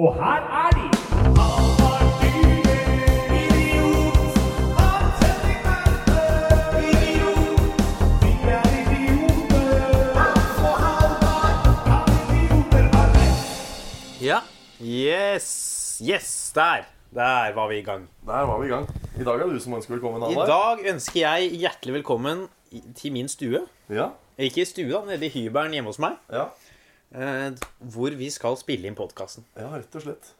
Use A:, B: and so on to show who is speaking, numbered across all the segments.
A: Og her er de! Han var dyre, idiot. Han setter kampen, idiot. Vi er idioter. Altså Halvard, han idioter har rett.
B: Ja.
C: Yes! Yes! Der! Der var vi i gang.
D: Der var vi i gang. I dag er det du som ønsker velkommen,
C: I
D: Halvard.
C: dag ønsker jeg hjertelig velkommen i- til min stue.
D: Ja,
C: Ikke i stue, da, nede i hybelen hjemme hos meg.
D: ja,
C: eh, Hvor vi skal spille inn podkasten.
D: ja, rett og slett.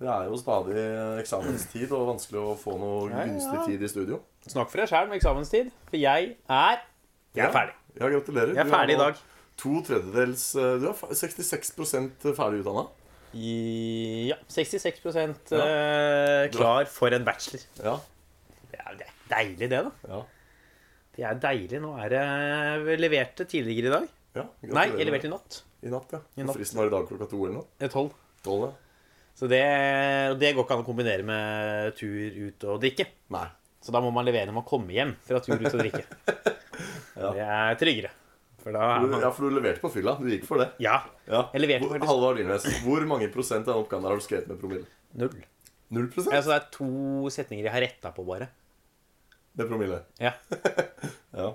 D: Det er jo stadig eksamenstid og vanskelig å få noe
C: ja.
D: gunstig tid i studio.
C: Snakk for deg sjæl med eksamenstid, for jeg er Jeg er ferdig.
D: Ja, gratulerer.
C: Jeg er
D: Du
C: ferdig i
D: nå
C: dag.
D: To tredjedels eh, Du er fa- 66 ferdig utdanna.
C: I- Ja. 66 eh, klar for en bachelor.
D: Ja.
C: Det er, det er deilig, det, da.
D: ja.
C: Det er deilig. Nå er det Leverte tidligere i dag.
D: ja
C: Nei, jeg leverte i natt.
D: i natt. ja.
C: I natt.
D: Fristen var i dag klokka to eller noe.
C: Eh, Tolv.
D: Tolv, ja.
C: Så det, det går ikke an å kombinere med tur ut og drikke.
D: Nei.
C: Så da må man levere når man kommer hjem fra tur ut og drikke. Det er tryggere. For da er
D: Du,
C: man
D: ja, for du leverte på fylla. Du gikk for det.
C: Ja.
D: Ja.
C: Jeg leverte
D: Hvor-
C: faktisk-
D: Halvard Lindnes, hvor mange prosent av den oppgaven der har du skrevet med promille?
C: Null.
D: Null
C: Ja,
D: prosent
C: så det er to setninger jeg har retta på, bare.
D: med promille.
C: Ja.
D: Ja.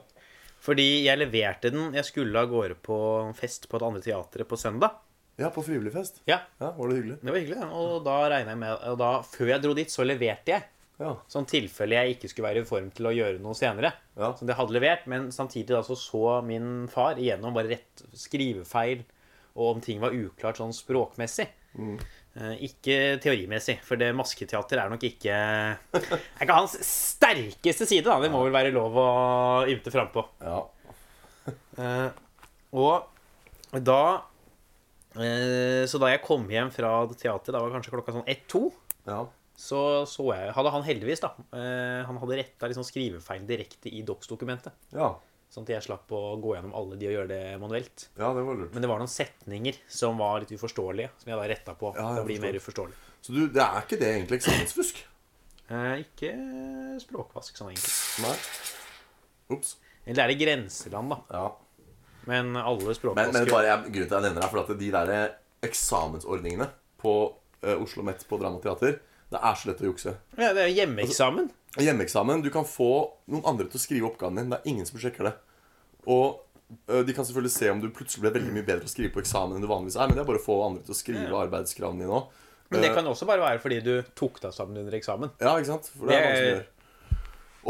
C: Fordi jeg leverte den Jeg skulle av gårde på fest på det andre teatret på søndag.
D: ja, på frivillig fest.
C: Ja,
D: Ja, var det hyggelig?
C: det var hyggelig. det. Og da regna jeg med Og da, før jeg dro dit, så leverte jeg.
D: Ja.
C: Sånn tilfelle jeg ikke skulle være i form til å gjøre noe senere.
D: Ja.
C: Så det hadde levert, men samtidig da så, så min far igjennom bare rett skrivefeil, og om ting var uklart sånn språkmessig. Eh, Ikke teorimessig, for det masketeater er nok ikke Er ikke hans sterkeste side, da. Det må vel være lov å ymte frampå.
D: Ja.
C: Og da eh, Så da jeg kom hjem fra teater, da var det kanskje klokka sånn ett-to,
D: Ja.
C: så så jeg Hadde han heldigvis, da. eh, Han hadde retta liksom skrivefeil direkte i docs-dokumentet.
D: Ja.
C: Sånn at jeg slapp å gå gjennom alle de og gjøre det manuelt.
D: ja, det var lurt.
C: Men det var noen setninger som var litt uforståelige, som jeg da retta på.
D: Ja, jeg
C: for å bli
D: forstår.
C: mer uforståelig.
D: Så du, det er ikke det egentlig eksamensfusk?
C: Eh, ikke språkvask, sånn egentlig.
D: Nei. Ops.
C: Eller det er i grenseland, da.
D: Ja.
C: Men alle
D: Men,
C: språkvasker
D: men bare jeg, grunnen til at jeg nevner det, er fordi at de der eh, eksamensordningene på eh, Oslo Met på Dramateater, det er så lett å jukse.
C: ja, Det er jo hjemmeeksamen.
D: Hjemmeeksamen, du kan få noen andre til å skrive oppgaven din. Det er ingen som sjekker det. Og eh, de kan selvfølgelig se om du plutselig ble veldig mye bedre å skrive på eksamen enn du vanligvis er, men det er bare å få andre til å skrive arbeidskravene dine òg.
C: Men det kan også bare være fordi du tok deg sammen under eksamen.
D: Ja, ikke sant? For det er
C: Det-
D: vanskelig å gjøre.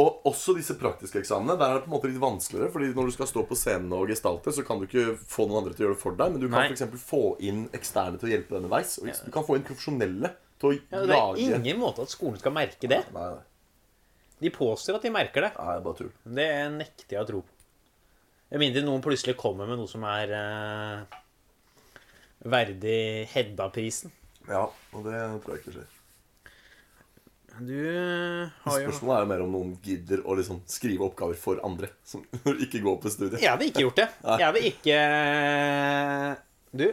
D: Og også disse praktiske eksamene. Der er det på en måte litt vanskeligere. fordi når du skal stå på scenen og gestalte, så kan du ikke få noen andre til å gjøre det for deg. Men du
C: Nei.
D: kan for eksempel få inn eksterne til å hjelpe deg underveis. Og du kan få inn profesjonelle til å
C: Ja, det er
D: lage
C: ingen måte at skolen skal merke det.
D: Nei, nei.
C: De påstår at de merker det.
D: Nei, det er bare tull.
C: Det nekter jeg å tro på. Med mindre noen plutselig kommer med noe som er eh, verdig Hedda-prisen.
D: Ja, og det tror jeg ikke skjer.
C: Du eh, har jo
D: Spørsmålet er jo mer om noen gidder å liksom skrive oppgaver for andre som ikke går på studiet.
C: Jeg hadde ikke gjort det. Jeg hadde ikke eh, Du,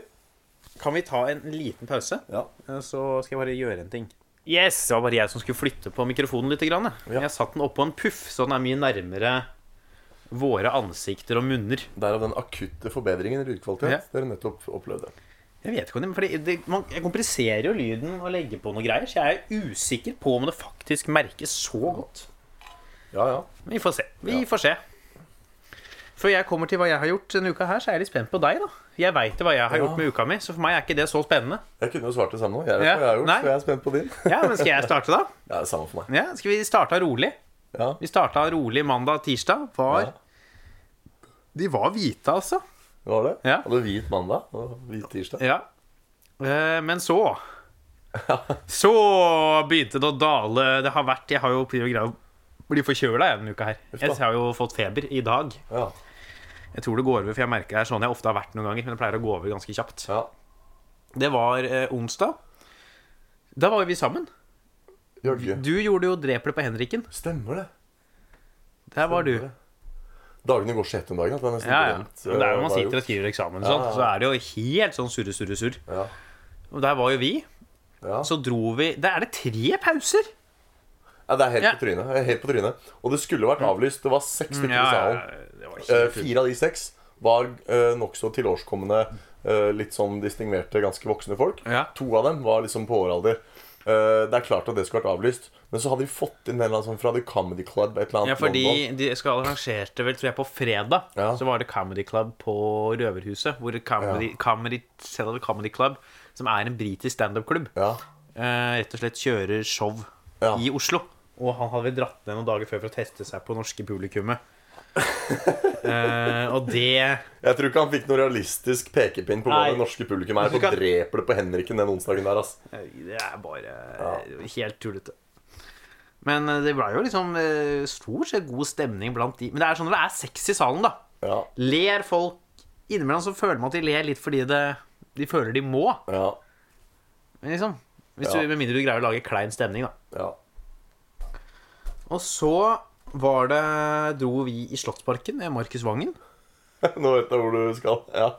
C: kan vi ta en liten pause? Eh,
D: Ja.
C: Så skal jeg bare gjøre en ting. Yes! Det var bare jeg som skulle flytte på mikrofonen litt. Grann. jeg.
D: Ja.
C: Jeg satte den oppå en puff, så den er mye nærmere våre ansikter og munner.
D: Derav den akutte forbedringen i lydkvalitet
C: Ja.
D: dere nettopp opplevde.
C: Jeg vet ikke om det, fordi det, man, jeg kompliserer jo lyden og legger på noe greier, så jeg er usikker på om det faktisk merkes så godt.
D: Ja, ja.
C: Men vi får se. Vi får se. Før jeg kommer til hva jeg har gjort denne uka her, så er jeg litt spent på deg, da. Jeg veit hva jeg har gjort med uka mi, så for meg er ikke det så spennende.
D: Jeg kunne jo svart det samme nå. Jeg vet
C: Ja.
D: hva jeg har gjort,
C: Nei.
D: så jeg er spent på din.
C: Ja, men skal jeg starte, da?
D: Ja, det er samme for meg.
C: Ja, skal vi starte rolig?
D: Ja.
C: Vi starta rolig mandag-tirsdag. Var
D: Ja.
C: De var hvite, altså.
D: Det var det?
C: Ja.
D: Hadde hvit mandag og hvit tirsdag.
C: Ja. Eh, Men så Så begynte det å dale. Det har vært Jeg har jo prøvd å greie å bli forkjøla denne uka her.
D: da.
C: Jeg har jo fått feber i dag.
D: Ja.
C: Jeg tror det går over, for jeg merker det er sånn jeg ofte har vært noen ganger. Men det pleier å gå over ganske kjapt.
D: ja.
C: Det var eh, onsdag. Da var jo vi sammen.
D: Jørge.
C: Du gjorde jo dreplet på Henriken.
D: Stemmer det.
C: Der var du.
D: Dagene går så hett om dagen at det er nesten
C: Ja, ja.
D: glemt,
C: Men det er
D: eh,
C: jo man
D: hva jeg
C: sitter og
D: har gjort.
C: skriver eksamen, og sånt,
D: Ja, ja.
C: så er det jo helt sånn surre, surre, surr.
D: Ja.
C: Og der var jo vi.
D: Ja.
C: Så dro vi Der er det tre pauser!
D: ja, det er helt
C: Ja. Mm.
D: på trynet. Jeg er Helt på trynet. Og det skulle vært avlyst. Det var seks stykker i salen.
C: det var
D: Eh,
C: helt
D: fire av de seks var eh, nokså tilårskomne eh, litt sånn distingverte, ganske voksne folk.
C: Ja.
D: To av dem var liksom på vår alder. Eh, det er klart at det skulle vært avlyst. Men så hadde de fått inn en eller annen sånn fra The Comedy Club. Et eller annet
C: Ja,
D: London.
C: fordi de skal arrangerte vel, tror jeg, på fredag.
D: Ja.
C: Så var det Comedy Club på Røverhuset. Hvor Comedy, comedy, Cellar comedy Club, som er en britisk standup-klubb,
D: Ja.
C: eh, rett og slett kjører show
D: Ja.
C: i Oslo. Og han hadde vel dratt ned noen dager før for å teste seg på norske publikummet. eh, og det
D: Jeg tror ikke han fikk noen realistisk pekepinn på hva
C: Nei.
D: det norske publikum er.
C: Jeg tror
D: Så
C: ikke han-
D: dreper det på Henriken den onsdagen der, ass.
C: Det er bare helt tullete. Men eh, det ble jo liksom eh, stort sett god stemning blant de Men det er sånn når det er sex i salen, da.
D: Ja.
C: Ler folk Innimellom så føler man at de ler litt fordi det, de føler de må.
D: Ja.
C: Men liksom hvis
D: Ja.
C: du, Med mindre du greier å lage klein stemning, da.
D: Ja.
C: Og så var det dro vi i Slottsparken med Markus Vangen.
D: Nå vet jeg hvor du skal. Ja.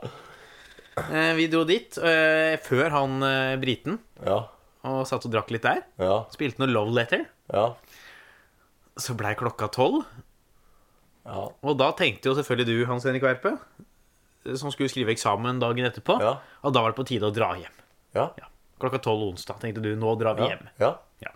C: Eh, Vi dro dit eh, før han eh, briten
D: Ja.
C: og satt og drakk litt der.
D: Ja.
C: Spilte noe Love Letter.
D: Ja.
C: Så blei klokka tolv.
D: Ja.
C: Og da tenkte jo selvfølgelig du, Hans Henrik Werpe, eh, som skulle skrive eksamen dagen etterpå,
D: Ja.
C: at da var det på tide å dra hjem.
D: Ja.
C: Ja. Klokka tolv onsdag tenkte du nå drar vi
D: Ja.
C: hjem.
D: ja.
C: Ja.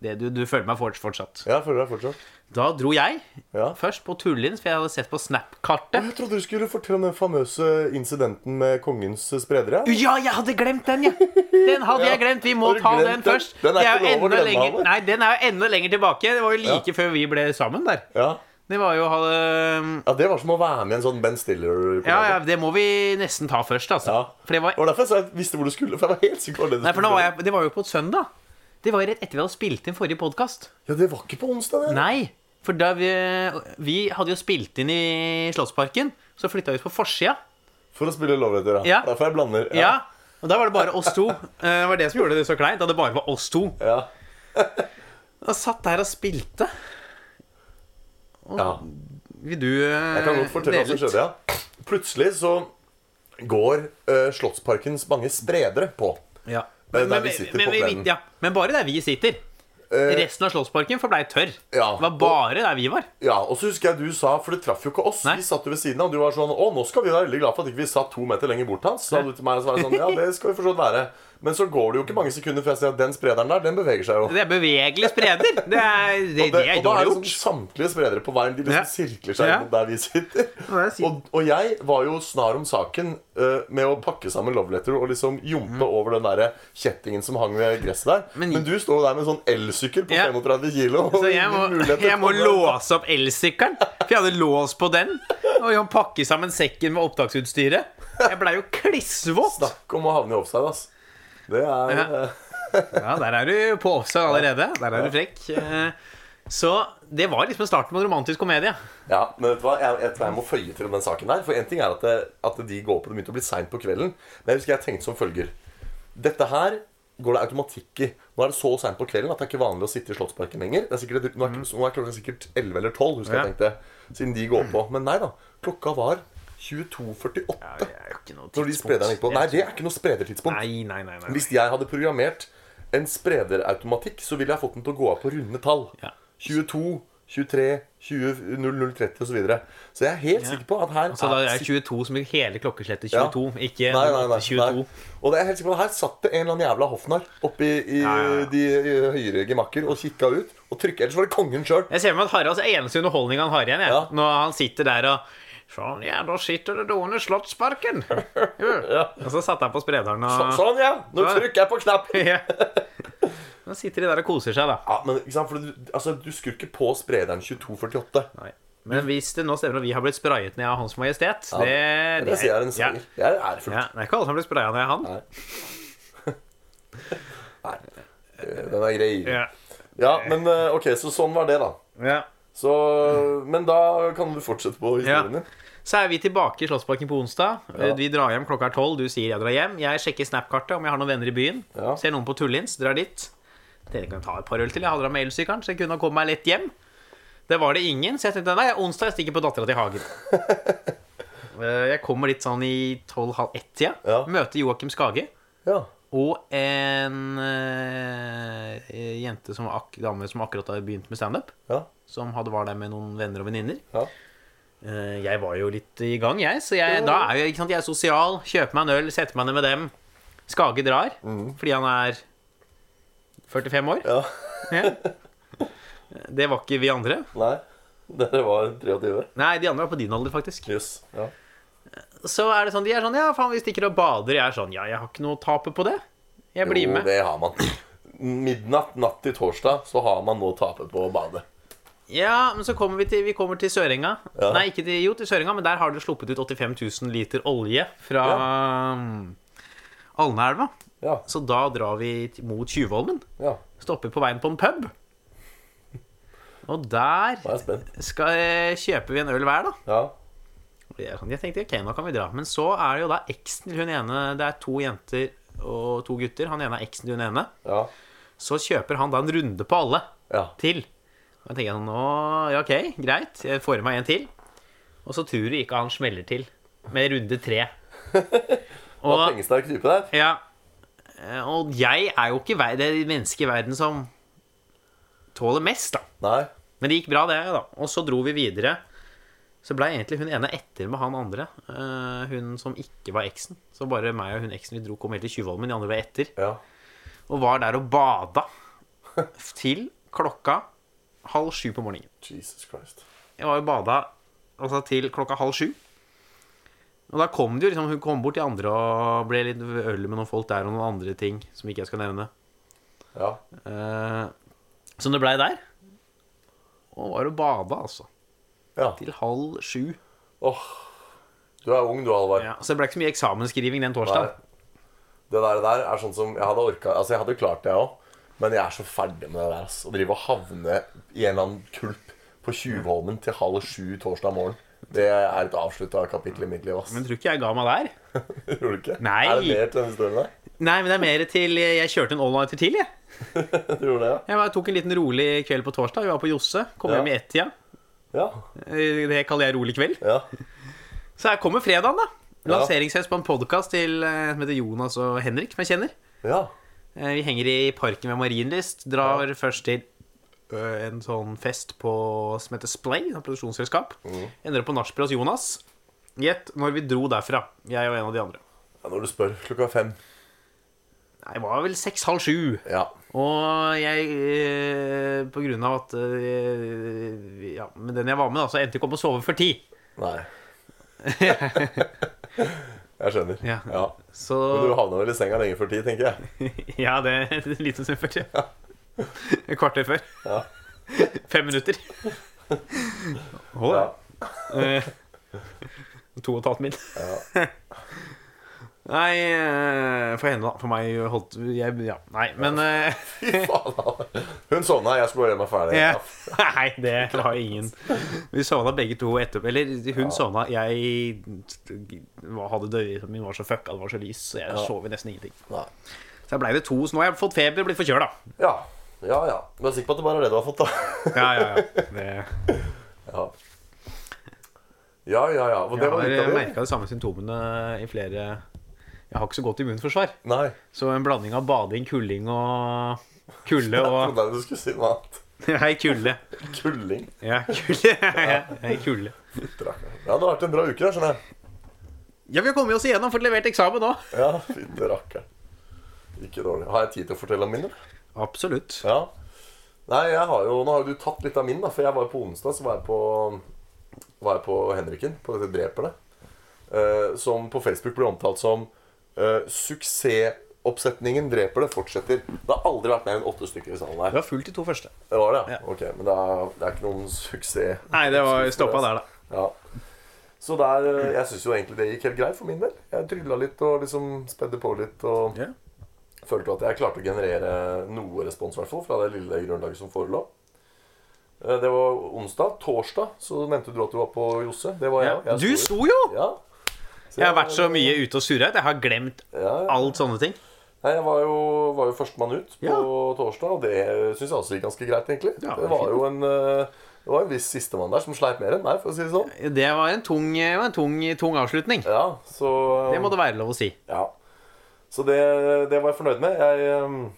C: Det, du, du føler meg fort- fortsatt.
D: Jeg føler deg fortsatt.
C: Da dro jeg
D: Ja.
C: først på Tullins, for jeg hadde sett på Snap-kartet.
D: Jeg trodde du skulle fortelle om den famøse incidenten med kongens spredere.
C: Ja, jeg hadde glemt den, ja! Den hadde jeg glemt. Vi må
D: Har du
C: ta
D: glemt
C: den
D: den?
C: først.
D: Den er
C: Det
D: ikke
C: jo
D: lov å
C: enda
D: glemme,
C: lenger,
D: Halvor.
C: nei, den er jo enda lenger tilbake. Det var jo like
D: Ja.
C: før vi ble sammen der.
D: Ja.
C: Det var jo hadde,
D: ja, Det var som å være med i en sånn Ben Stiller-komedie.
C: Ja, ja, det må vi nesten ta først, altså.
D: Ja.
C: For det var
D: Det var derfor jeg sa jeg visste hvor du skulle. For jeg var helt sikker på det du
C: Nei, for nå
D: skulle
C: var jeg, det var jo på et søndag. Det var jo rett etter vi hadde spilt inn forrige podkast.
D: Ja, det var ikke på onsdag, det.
C: Nei, for da vi, vi hadde jo spilt inn i Slottsparken. Så flytta vi ut på forsida.
D: For å spille lovretter,
C: Ja.
D: Derfor jeg blander.
C: Ja. Og da var det bare oss to. Eh, Det var det som gjorde det så kleint. Da det bare var oss to.
D: Ja.
C: Da satt der og spilte.
D: ja.
C: Vil du eh,
D: Jeg kan godt fortelle hva som skjedde, ja. Plutselig så går eh, Slottsparkens mange spredere på.
C: Ja.
D: Der
C: Men,
D: vi sitter
C: men,
D: på
C: vi-
D: plenen.
C: ja. men bare der vi sitter.
D: Eh,
C: Resten av Slottsparken forblei tørr.
D: Ja.
C: Det var bare der vi var.
D: Ja, og så husker jeg du sa, for det traff jo ikke oss
C: Nei.
D: Vi satt jo ved siden av, og du var sånn Å, nå skal vi være veldig glad for at ikke vi satt to meter lenger bort hans Så sa du til meg, og så var jeg sånn, ja, det skal vi forstått være Men så går det jo ikke mange sekunder før jeg ser at den sprederen der, den beveger seg jo
C: Det er bevegelig spreder. Det er, det,
D: Og det-
C: det er
D: og da er
C: dårlig
D: det
C: gjort.
D: sånn samtlige spredere på veien. De liksom
C: Ja.
D: sirkler seg
C: Ja.
D: mot der vi sitter.
C: det er sykt.
D: Og, og jeg var jo snar om saken eh, med å pakke sammen love letter og liksom jumpe over den der kjettingen som hang ved gresset der.
C: Mm. Men-
D: Men, du står jo der med en sånn elsykkel på
C: Ja.
D: 35 kilo. og
C: Så jeg
D: ingen
C: må,
D: mulighet til å
C: jeg må
D: komme-
C: låse opp elsykkelen, for jeg hadde lås på den. Og jeg må pakke sammen sekken med opptaksutstyret. Jeg blei jo klissvåt.
D: Snakk om å havne i offside, ass. Det er
C: Ja.
D: eh,
C: Ja, der er du på offside allerede. Der er du frekk. Eh, Så det var liksom starten på en romantisk komedie.
D: Ja, men vet du hva? Jeg, jeg, tror jeg må føye til om den saken der. For en ting er at, det, at de går på det begynte å bli seint på kvelden. Men jeg husker jeg tenkte som følger. Dette her går det automatikk i. Nå er det så seint på kvelden at det er ikke vanlig å sitte i Slottsparken lenger. Det er sikkert, nå, er, nå er klokka sikkert 11 eller 12, husker jeg tenkte. Siden de går på. Men nei da. Klokka var 22.48
C: det er jo ikke noe
D: når de sprederne gikk på. Nei, det er ikke noe spredertidspunkt.
C: Nei, nei, nei. nei.
D: Hvis jeg hadde programmert en sprederautomatikk, så ville jeg fått den til å gå av på runde tall.
C: Ja.
D: 22, 23, 20, 0, 0, 30 osv. Så, videre. så jeg er helt sikker på at her
C: Så Altså, da er
D: sitt-
C: 22 som gikk hele klokkeslettet
D: Ja.
C: 22, ikke
D: Nei, nei, nei,
C: 22.
D: nei. Og det er jeg helt sikker på at her satt det en eller annen jævla hoffnarr oppi i,
C: Ja, ja, ja.
D: de i høyere gemakker og kikka ut og trykka. Ellers var det kongen sjøl.
C: Jeg ser for meg at Haralds eneste underholdning han har igjen, jeg.
D: Ja.
C: når han sitter der og Sånn, ja, da sitter det da under Slottsparken. Jo. Og så satte han på sprederen og
D: Sånn, ja! Nå
C: Ja.
D: trykker jeg på knappen.
C: Ja. Nå sitter de der og koser seg, da.
D: Ja, men ikke sant, for du, altså, du skrur ikke på sprederen 2248.
C: Nei. Men hvis det nå stemmer at vi har blitt sprayet ned av Hans Majestet
D: Ja,
C: Det,
D: Det, sier jeg er en seier.
C: Ja.
D: Det er ærefullt.
C: Ja, det er ikke alle som blir spraya ned av han.
D: Nei. Eh, Den er grei.
C: Ja.
D: Ja, men eh, ok, så sånn var det, da.
C: Ja.
D: Så, men da kan du fortsette på
C: Ja.
D: historien din.
C: Så er vi tilbake i Slottsparken på onsdag. Eh, Vi drar hjem klokka er tolv. Du sier jeg drar hjem. Jeg sjekker Snap-kartet om jeg har noen venner i byen.
D: Ja.
C: Ser noen på Tullins, drar dit. Dere kan ta et par øl til. Jeg hadde da med elsykkelen, så jeg kunne ha kommet meg lett hjem. Det var det ingen, så jeg tenkte nei, onsdag jeg stikker på dattera til Hagen. Eh, jeg kommer litt sånn i tolv-halv ett-tida.
D: Ja.
C: Møter Joakim Skage.
D: Ja.
C: Og en eh, jente som, ak dame som akkurat hadde begynt med standup.
D: Ja.
C: Som hadde var der med noen venner og venninner.
D: Ja.
C: eh, jeg var jo litt i gang, jeg. Så jeg, da er jeg, ikke sant, jeg er sosial. Kjøper meg en øl, setter meg ned med dem. Skage drar
D: Mhm.
C: fordi han er 45 år.
D: Ja.
C: Ja. Det var ikke vi andre.
D: Nei. Dere var 23.
C: Nei, de andre var på din alder, faktisk.
D: Jøss. Ja.
C: Så er det sånn, de er sånn Ja, faen, vi stikker og bader. Jeg er sånn Ja, jeg har ikke noe å tape på det. Jeg blir
D: Jo,
C: med.
D: det har man. Midnatt natt til torsdag så har man noe å tape på å bade.
C: Ja, men så kommer vi til, vi kommer til Sørenga.
D: Ja.
C: Nei, ikke til, jo, til Sørenga, men der har det sluppet ut 85 000 liter olje fra um, Alnaelva.
D: Ja.
C: Så da drar vi t- mot Tjuvholmen.
D: ja.
C: Stopper på veien på en pub. Og der
D: Nå er jeg spent.
C: skal, eh, kjøper vi en øl hver, da.
D: Ja.
C: Og jeg- Jeg tenkte ok, nå kan vi dra. Men så er det jo da eksen til hun ene Det er to jenter og to gutter. Han ene er eksen til hun ene.
D: Ja.
C: Så kjøper han da en runde på alle
D: Ja.
C: til. Og jeg tenker sånn, nå, ja, ok, greit, jeg får i meg en til. Og så tror du ikke han smeller til med runde tre.
D: Og
C: Og,
D: pengesterk type der.
C: ja, eh, og jeg er jo ikke vei, det mennesket i verden som tåler mest, da.
D: Nei.
C: Men det gikk bra, det, da. Og så dro vi videre. Så blei egentlig hun ene etter med han andre. eh, hun som ikke var eksen. Så bare meg og hun eksen vi dro, kom helt til Tjuvholmen. De andre var etter.
D: Ja.
C: Og var der og bada til klokka halv sju på morgenen.
D: Jesus Christ.
C: Jeg var jo bada altså, til klokka halv sju. Og da kom det jo liksom, hun kom bort til andre og ble litt øl med noen folk der og noen andre ting som ikke jeg skal nevne.
D: Ja.
C: Eh, som det blei der. Og var og bada, altså.
D: ja.
C: Til halv sju.
D: Åh. Du er ung, du, Halvard.
C: Ja, så det ble ikke så mye eksamensskriving den
D: Nei.
C: torsdagen.
D: Det der, der er sånn som Jeg hadde orka Altså, jeg hadde klart det, jeg òg. Men jeg er så ferdig med det der. ass. Å drive og havne i en eller annen kulp på Tjuvholmen til halv sju torsdag morgen. Det er et avslutta kapittel i mitt liv. ass.
C: Men tror ikke jeg ga meg der.
D: Tror du ikke?
C: Nei.
D: Er det mer til denne historien der?
C: Nei, men det er mer til Jeg kjørte en all-nighter til, jeg.
D: Tror du det, ja?
C: Jeg var- tok en liten rolig kveld på torsdag. Vi var på Josse. Kom
D: Ja.
C: hjem i ett-tida.
D: Ja.
C: Eh, Det kaller jeg rolig kveld.
D: ja.
C: Så her kommer fredagen, da.
D: Ja.
C: Lanseringsfest på en podkast til eh, som heter Jonas og Henrik, som jeg kjenner.
D: ja.
C: Eh, Vi henger i parken ved Marienlyst. Drar først til ø, en sånn fest på, som heter Splay, et produksjonsselskap.
D: Mhm.
C: Ender opp på nachspiel hos Jonas. Gjett når vi dro derfra, jeg og en av de andre.
D: ja når du spør. Klokka er fem.
C: Nei, Det var vel seks-halv sju.
D: Ja.
C: Og jeg eh, På grunn av at eh, Ja, med den jeg var med, da, så endte jeg ikke opp med å sove før ti.
D: Nei. jeg skjønner.
C: Ja.
D: ja.
C: Så
D: Men du havna vel i senga lenge før tid, tenker jeg.
C: Ja, det er en liten stund før. Ja. Et kvarter før.
D: Ja.
C: Fem minutter. Hold
D: Ja.
C: da. Eh, To og et halvt min. Nei, eh, for henne, da. For meg holdt jeg, Ja, nei, men eh,
D: Fy faen. Halvard. Hun sovna, jeg skulle bare gjøre meg ferdig.
C: ja. Nei, det har ingen Vi sovna begge to etterpå. Eller hun sovna, jeg var- hadde døye, min var så fucka, det var så lys, så jeg sov i nesten ingenting.
D: Nei.
C: Så jeg blei det to, så nå har jeg fått feber og blitt forkjøla.
D: Ja. Ja, ja. Du er sikker på at det bare er det du har fått, da?
C: Ja, ja, ja. Det...
D: Ja, ja, ja. ja. Og det
C: Jeg
D: var litt
C: har
D: av det.
C: merka de samme symptomene i flere Jeg har ikke så godt immunforsvar.
D: Nei.
C: Så en blanding av bading, kulling og Kulde
D: Jeg
C: og
D: trodde du skulle si noe annet.
C: Nei, kulde.
D: Kulling.
C: Ja, kulde. Nei, kulde.
D: Rakkeren. Ja, det har vært en bra uke, der, skjønner jeg.
C: Ja, vi har kommet oss igjennom, fått levert eksamen nå.
D: Ja, fytte rakkeren. Ikke dårlig. Har jeg tid til å fortelle om min, eller?
C: Absolutt.
D: Ja. Nei, jeg har jo, nå har jo du tatt litt av min, da. For jeg var jo på onsdag så var jeg på, var jeg på Henriken, på dette dreperne. eh, som på Facebook ble omtalt som eh, 'Suksessoppsetningen dreper det fortsetter'. Det har aldri vært mer enn åtte stykker i salen
C: Du
D: her.
C: har fulgt de to første.
D: Det var det, ja?
C: Ja.
D: Ok, men det er, det er ikke noen suksess.
C: Nei, det var stoppa der, da.
D: Ja. Så der, eh, jeg syns jo egentlig det gikk helt greit for min del. Jeg trylla litt og liksom spedde på litt. Og
C: Ja.
D: følte at jeg klarte å generere noe respons i hvert fall, fra det lille grunnlaget som forelå. Eh, Det var onsdag. Torsdag så nevnte du at du var på Josse. Det var jeg.
C: Ja.
D: jeg
C: Du sto jo!
D: Ja.
C: Jeg har vært så mye ute og surra at jeg har glemt
D: ja, ja.
C: alt sånne ting.
D: Nei, Jeg var jo, var jo førstemann ut på
C: Ja.
D: torsdag, og det syns jeg også gikk ganske greit, egentlig.
C: Ja,
D: det var jo en, eh, det var en viss sistemann der som sleit mer enn meg, for å si det sånn.
C: Det var en tung, det var en tung, tung avslutning.
D: Ja, så
C: Det må det være lov å si.
D: Ja. Så det, eh, det var jeg fornøyd med. Jeg ehm,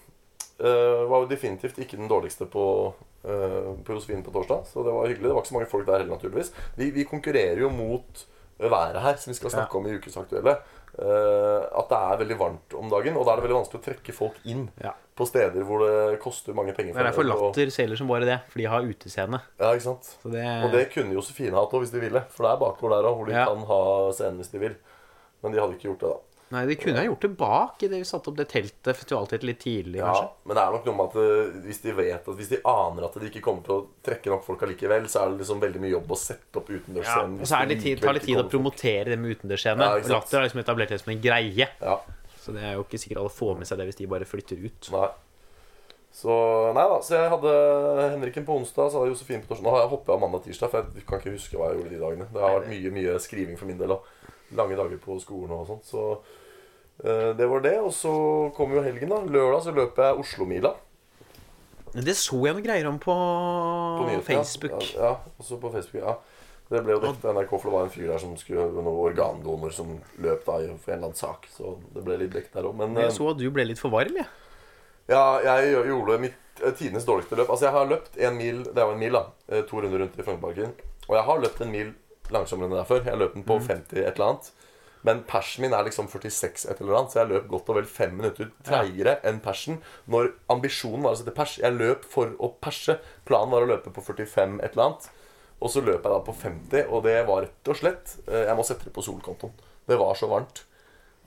D: øh, var jo definitivt ikke den dårligste på eh, på Josefine på torsdag. Så det var hyggelig. Det var ikke så mange folk der heller, naturligvis. Vi, vi konkurrerer jo mot været her, som vi skal snakke om i Ukens Aktuelle. eh, at det er veldig varmt om dagen, og da er det veldig vanskelig å trekke folk inn
C: Ja.
D: på steder hvor det koster mange penger.
C: Det er derfor
D: dem, og-
C: Latter selger som bare det, for de har utescene.
D: Ja, ikke sant?
C: Så det,
D: Og det kunne Josefine hatt òg, hvis de ville. For det er bakgård der òg, hvor de
C: Ja.
D: kan ha scenen hvis de vil. Men de hadde ikke gjort det, da.
C: Nei, de kunne ha gjort det bak i det vi satte opp det teltet festivalteltet litt tidlig,
D: Ja,
C: kanskje.
D: men det er nok noe med at eh, hvis de vet at hvis de aner at de ikke kommer til å trekke nok folk allikevel, så er det liksom veldig mye jobb å sette opp
C: Ja,
D: utendørsscenen.
C: og så er det litt tid, tar litt tid å promotere det med utendørsscene.
D: Ja, ikke
C: og
D: sant.
C: latter har liksom etablert det som en greie.
D: Ja,
C: Så det er jo ikke sikkert alle får med seg det hvis de bare flytter ut.
D: nei. Så nei da, så jeg hadde Henriken på onsdag, så hadde jeg Josefine på torsdag. Nå har jeg hoppet av mandag og tirsdag, for jeg kan ikke huske hva jeg gjorde de dagene. Det har vært mye mye skriving for min del, og lange dager på skolen og sånn. Så eh, det var det. Og så kom jo helgen, da. Lørdag så løper jeg Oslomila.
C: Men det så jeg noen greier om på,
D: På nyhetene,
C: Facebook.
D: Ja, ja også på Facebook, ja. Det ble jo dekket av NRK, for det var en fyr der som skulle være noen organdonor som løp da i- for en eller annen sak. Så det ble litt dekket der òg. Men
C: Jeg så at du ble litt for varm, jeg.
D: eh, ja, jeg gjør- gjorde mitt eh, tidenes dårligste løp. Altså, jeg har løpt en mil Det er jo en mil, da. eh, To runder rundt i Frognerparken. Og jeg har løpt en mil langsommere enn det der før. Jeg løp den på 50 et eller annet. Men persen min er liksom 46 et eller annet, så jeg løp godt og vel fem minutter treigere enn persen. Når ambisjonen var å sette pers. Jeg løp for å perse. Planen var å løpe på 45 et eller annet. Og så løp jeg da på 50, og det var rett og slett eh, Jeg må sette det på solkontoen. Det var så varmt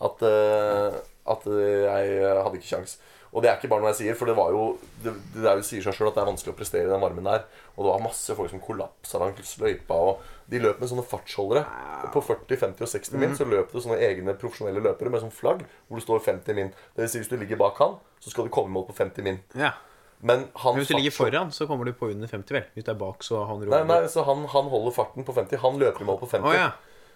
D: at, eh, at eh, jeg hadde ikke kjangs. Og det er ikke bare noe jeg sier, for det var jo Det, det er jo sier seg sjøl at det er vanskelig å prestere i den varmen der. Og det var masse folk som kollapsa langs løypa, og de løp med sånne fartsholdere. Og På 40, 50 og 60 min
C: Mm.
D: så løp det sånne egne profesjonelle løpere med sånn flagg hvor det står 50 min. Det vil si hvis du ligger bak han, så skal du komme i mål på 50 min.
C: Ja.
D: Men han
C: Men hvis du ligger foran,
D: fartsholder-
C: så kommer du på under 50, vel. Hvis du er bak, så havner du
D: Nei,
C: over.
D: nei, så han, han holder farten på 50. Han løper i mål på 50.
C: Å, ja.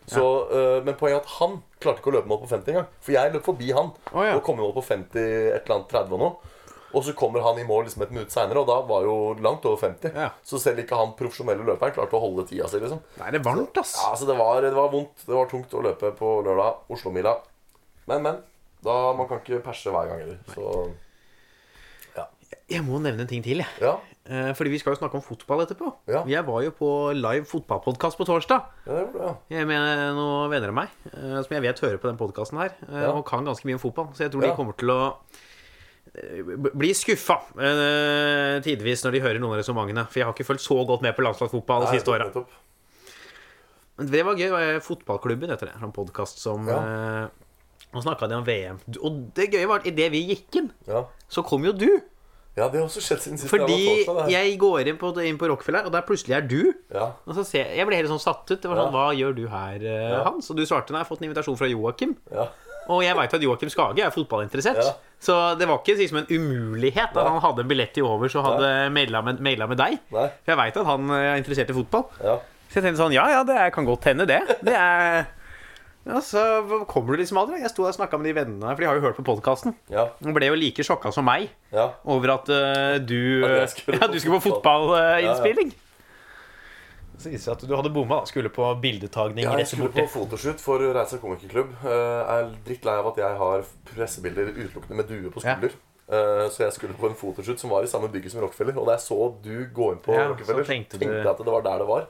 D: Så, øh, men poenget er at han klarte ikke å løpe i mål på 50 engang. For jeg løp forbi han
C: Å, ja.
D: og kom i mål på 50 et eller annet 30 og noe. Og så kommer han i mål liksom et minutt seinere, og da var jo langt over 50.
C: Ja.
D: Så selv ikke han profesjonelle løperen klarte å holde tida si. liksom
C: Da er det varmt, ass.
D: ja, altså det var, det var vondt. Det var tungt å løpe på lørdag. Oslomila. Men, men. Da, Man kan ikke perse hver gang heller. Så ja.
C: Jeg må nevne en ting til, jeg.
D: ja.
C: Eh, Fordi vi skal jo snakke om fotball etterpå.
D: Ja.
C: Jeg var jo på live fotballpodkast på torsdag.
D: Ja, det gjorde det, ja.
C: Jeg mener noen venner av meg eh, som jeg vet hører på den podkasten her, eh,
D: Ja.
C: og kan ganske mye om fotball. Så jeg tror
D: Ja.
C: de kommer til å eh, b- bli skuffa eh, tidvis når de hører noen av resonnementene. For jeg har ikke fulgt så godt med på landslagsfotball de
D: Nei,
C: siste åra.
D: nettopp.
C: Men det var gøy. var jeg- Fotballklubben heter det. En podkast som
D: Ja.
C: eh, Nå snakka de om VM. Og det gøye var at idet vi gikk inn,
D: Ja.
C: så kom jo du.
D: ja, det har også skjedd siden sist.
C: Fordi
D: jeg var på torsdag, det her.
C: jeg går inn på, inn på Rockefeller, og der plutselig er du.
D: Ja.
C: Og så ser jeg, jeg ble helt sånn satt ut. Det var
D: Ja.
C: sånn, Hva gjør du her, eh,
D: Ja.
C: Hans? Og du svarte nei, jeg har fått en invitasjon fra Joakim.
D: Ja.
C: Og jeg veit at Joakim Skage er fotballinteressert.
D: Ja.
C: Så det var ikke liksom en umulighet at
D: Nei.
C: han hadde en billett i over så hadde maila med, maila med deg.
D: Nei.
C: For jeg veit at han eh, er interessert i fotball.
D: Ja.
C: Så jeg tenkte sånn, ja ja, det er- kan godt hende, det. Det er ja, Så kommer du liksom aldri. Jeg sto der og snakka med de vennene, for de har jo hørt på podkasten.
D: Ja.
C: De ble jo like sjokka som meg
D: ja.
C: over at eh, du,
D: At jeg skulle
C: ja, du skulle på fotballinnspilling.
D: fotballinnspilling.
C: Så viser det seg at du hadde bomma. da. Skulle på bildetagning.
D: Jeg
C: rett
D: skulle
C: borti.
D: på fotoshoot for Reisa komikerklubb. Eh, Jeg er drittlei av at jeg har pressebilder utelukkende med due på
C: Ja.
D: skulder. Eh, Så jeg skulle på en fotoshoot som var i samme bygget som Rockefeller. Og da jeg så du gå inn på
C: Ja, så
D: Rockefeller, så
C: tenkte
D: tenkte,
C: du-
D: jeg at det var der det var.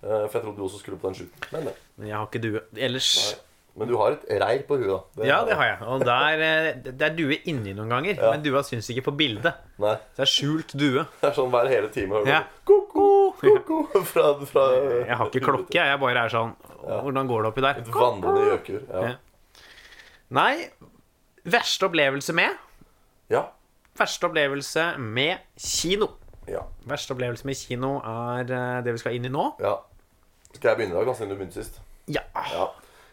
D: Eh, For jeg trodde du også skulle på den shooten. Men, nei.
C: Men jeg har ikke due ellers.
D: men du har et reir på huet, da.
C: Ja, det har jeg. Og der, eh, det er due inni noen ganger, men dua syns ikke på bildet.
D: Nei,
C: Så det er skjult due.
D: det er sånn hver hele time. hører du
C: Ja.
D: Ko-ko, ko-ko fra, fra eh,
C: Jeg har ikke klokke, jeg. jeg bare er sånn Hvordan går det oppi der?
D: Vandrende gjøkur. Ja.
C: Ja. Nei, verste opplevelse med
D: Ja.
C: Verste opplevelse med kino.
D: ja.
C: Verste opplevelse med kino er eh, det vi skal inn i nå.
D: ja. Skal jeg begynne i dag, da, siden du begynte sist?
C: Ja.
D: Ja.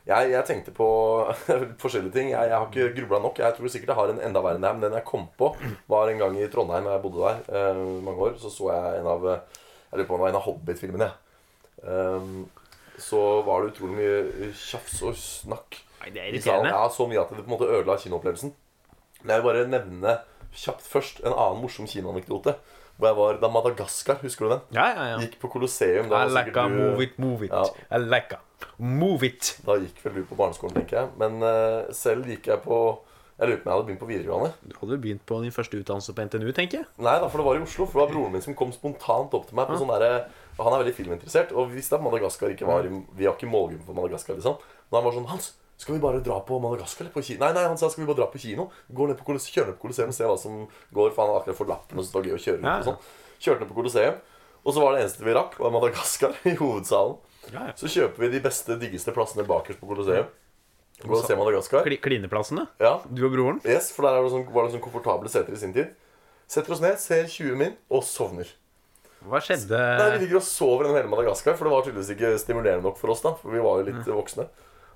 D: Jeg, jeg tenkte på forskjellige ting. Jeg, jeg har ikke grubla nok. Jeg tror sikkert jeg har en enda verre enn det her, men den jeg kom på, var en gang i Trondheim, da jeg bodde der eh, mange år. Så så jeg en av eh, Jeg lurer på om det var en av Hobbit-filmene. Ehm, så var det utrolig mye tjafs og snakk.
C: Nei, det er
D: i salen.
C: irriterende.
D: Ja, Så mye at det på en måte ødela kinoopplevelsen. Men jeg vil bare nevne kjapt først en annen morsom kinoanekdote. Hvor jeg var da Madagaskar, husker du den?
C: Ja, ja, ja.
D: Gikk på Colosseum. da
C: I
D: var
C: like a
D: sikkert du-
C: move it, move it.
D: Ja.
C: I like a move it.
D: Da gikk vel du på barneskolen, tenker jeg. Men eh, selv gikk jeg på Jeg lurer på om jeg hadde begynt på videregående.
C: Du hadde jo begynt på din første utdannelse på NTNU, tenker jeg.
D: Nei, da, for det var i Oslo. For det var broren min som kom spontant opp til meg på sånn derre og Han er veldig filminteressert, og vi visste at Madagaskar ikke var Vi har ikke målgruppe for Madagaskar, liksom. Men han var sånn Hans, skal vi bare dra på Madagaskar eller på kino? Nei, nei, han sa skal vi bare dra på kino? Gå ned på Kolosseum, kjøre ned på Colosseum og se hva som går, for han har akkurat fått lappen, og så var det gøy å kjøre rundt
C: Ja,
D: og sånn. Kjørte ned på Colosseum, og så var det eneste vi rakk, var Madagaskar i hovedsalen.
C: Ja, ja.
D: Så kjøper vi de beste, diggeste plassene bakerst på Colosseum. Går og ser Madagaskar.
C: Kli Klineplassene.
D: Ja,
C: Du og broren.
D: Yes, for der er det sånn, var det sånn komfortable seter i sin tid. Setter oss ned, ser 20 min og sovner.
C: Hva skjedde
D: Nei, Vi ligger og sover gjennom hele Madagaskar, for det var tydeligvis ikke stimulerende nok for oss. da, for vi var jo litt
C: Mm.
D: voksne.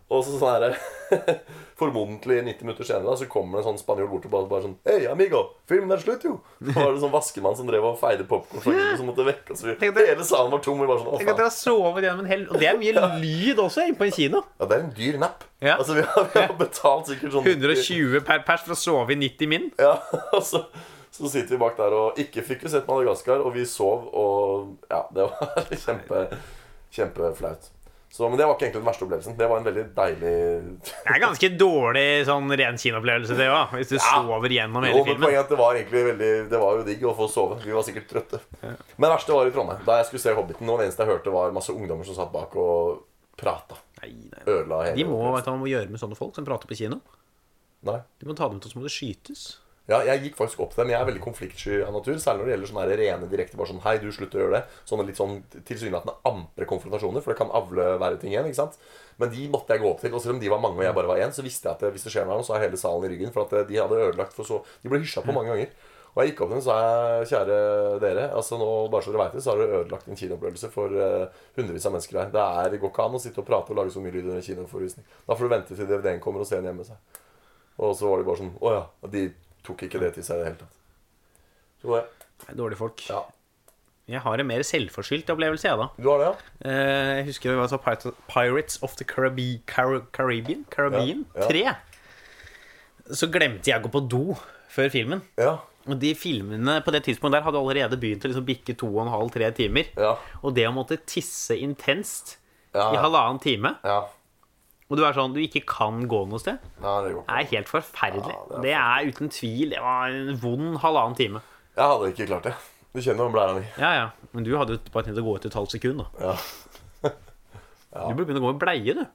D: Og så sånn her, formodentlig 90 minutter senere da, så kommer det en sånn spanjol bort og bare, bare sånn Hei, amigo, filmen er slutt, jo! Så var det sånn vaskemann som drev og feide popkorn fra gulvet, som måtte vekke oss. Vi-
C: Tenk at det-
D: Hele salen var tom. Vi bare sånn, å
C: Tenk at
D: faen.
C: dere har sovet gjennom en hel Og det er mye lyd også inne på en kino.
D: Ja, det er en dyr napp.
C: Ja.
D: Altså, vi har, vi har betalt sikkert sånn
C: 120 per pers for å sove i 90 min.
D: Ja, og så, så sitter vi bak der og ikke fikk vi sett Madagaskar, og vi sov, og ja, det var kjempe, kjempeflaut. Så, men det var ikke egentlig den verste opplevelsen. Det var en veldig deilig
C: Det er ganske dårlig sånn ren kinoopplevelse, det òg. Hvis du sover gjennom hele
D: Jo, men
C: filmen.
D: poenget er at det var egentlig veldig Det var jo digg å få sove. Vi var sikkert trøtte. Men det verste var i Trondheim. Da jeg skulle se Hobbiten, og det eneste jeg hørte, var masse ungdommer som satt bak og prata.
C: Nei, nei, nei.
D: Ødela hele
C: De må
D: opplevelsen.
C: vet du, hva man må gjøre med sånne folk som prater på kino.
D: Nei.
C: Du må ta dem til så må det skytes.
D: Ja, jeg gikk faktisk opp til dem. Jeg er veldig konfliktsky av natur. Særlig når det gjelder sånne her rene direkte bare sånn Hei, du, slutt å gjøre det. Sånne litt sånn tilsynelatende ampre konfrontasjoner, for det kan avle verre ting igjen. ikke sant? Men de måtte jeg gå opp til. Og selv om de var mange og jeg bare var én, så visste jeg at eh, hvis det skjer noe, så har jeg hele salen i ryggen. For at eh, de hadde ødelagt for så De ble hysja på mange ganger. Og jeg gikk opp til dem og sa jeg, kjære dere, altså nå bare så dere vet det, så har dere ødelagt en kinoopplevelse for eh, hundrevis av mennesker her. Det er, det går ikke an å sitte og prate og lage så mye lyd under en kinoforvisning. Da får du vente til DVD-en kommer og se den hjemme. sa jeg. Og så var de bare sånn Å ja. Og de tok ikke det til seg i det hele tatt. Så det,
C: Det er dårlige folk.
D: ja.
C: Jeg har en mer selvforskyldt opplevelse, jeg, da.
D: Du har det, ja?
C: Eh, Jeg husker det var så Pir- Pirates of the Carabi Car Caribbean, Caribbean
D: Ja, ja.
C: 3. Så glemte jeg å gå på do før filmen.
D: Ja.
C: Og de filmene på det tidspunktet der hadde allerede begynt å liksom bikke to og en halv, tre timer.
D: Ja.
C: Og det å måtte tisse intenst
D: Ja.
C: i halvannen time,
D: Ja.
C: og du er sånn du ikke kan gå noe sted,
D: Nei, det går ikke.
C: er helt forferdelig.
D: Ja, det
C: det,
D: er
C: er uten tvil Det var en vond halvannen time.
D: Jeg hadde ikke klart det. Du kjenner jo blæra mi.
C: Ja, ja. Men du hadde jo bare tenkt å gå ut et halvt sekund, da.
D: Ja.
C: Du burde begynne å gå med bleie, du.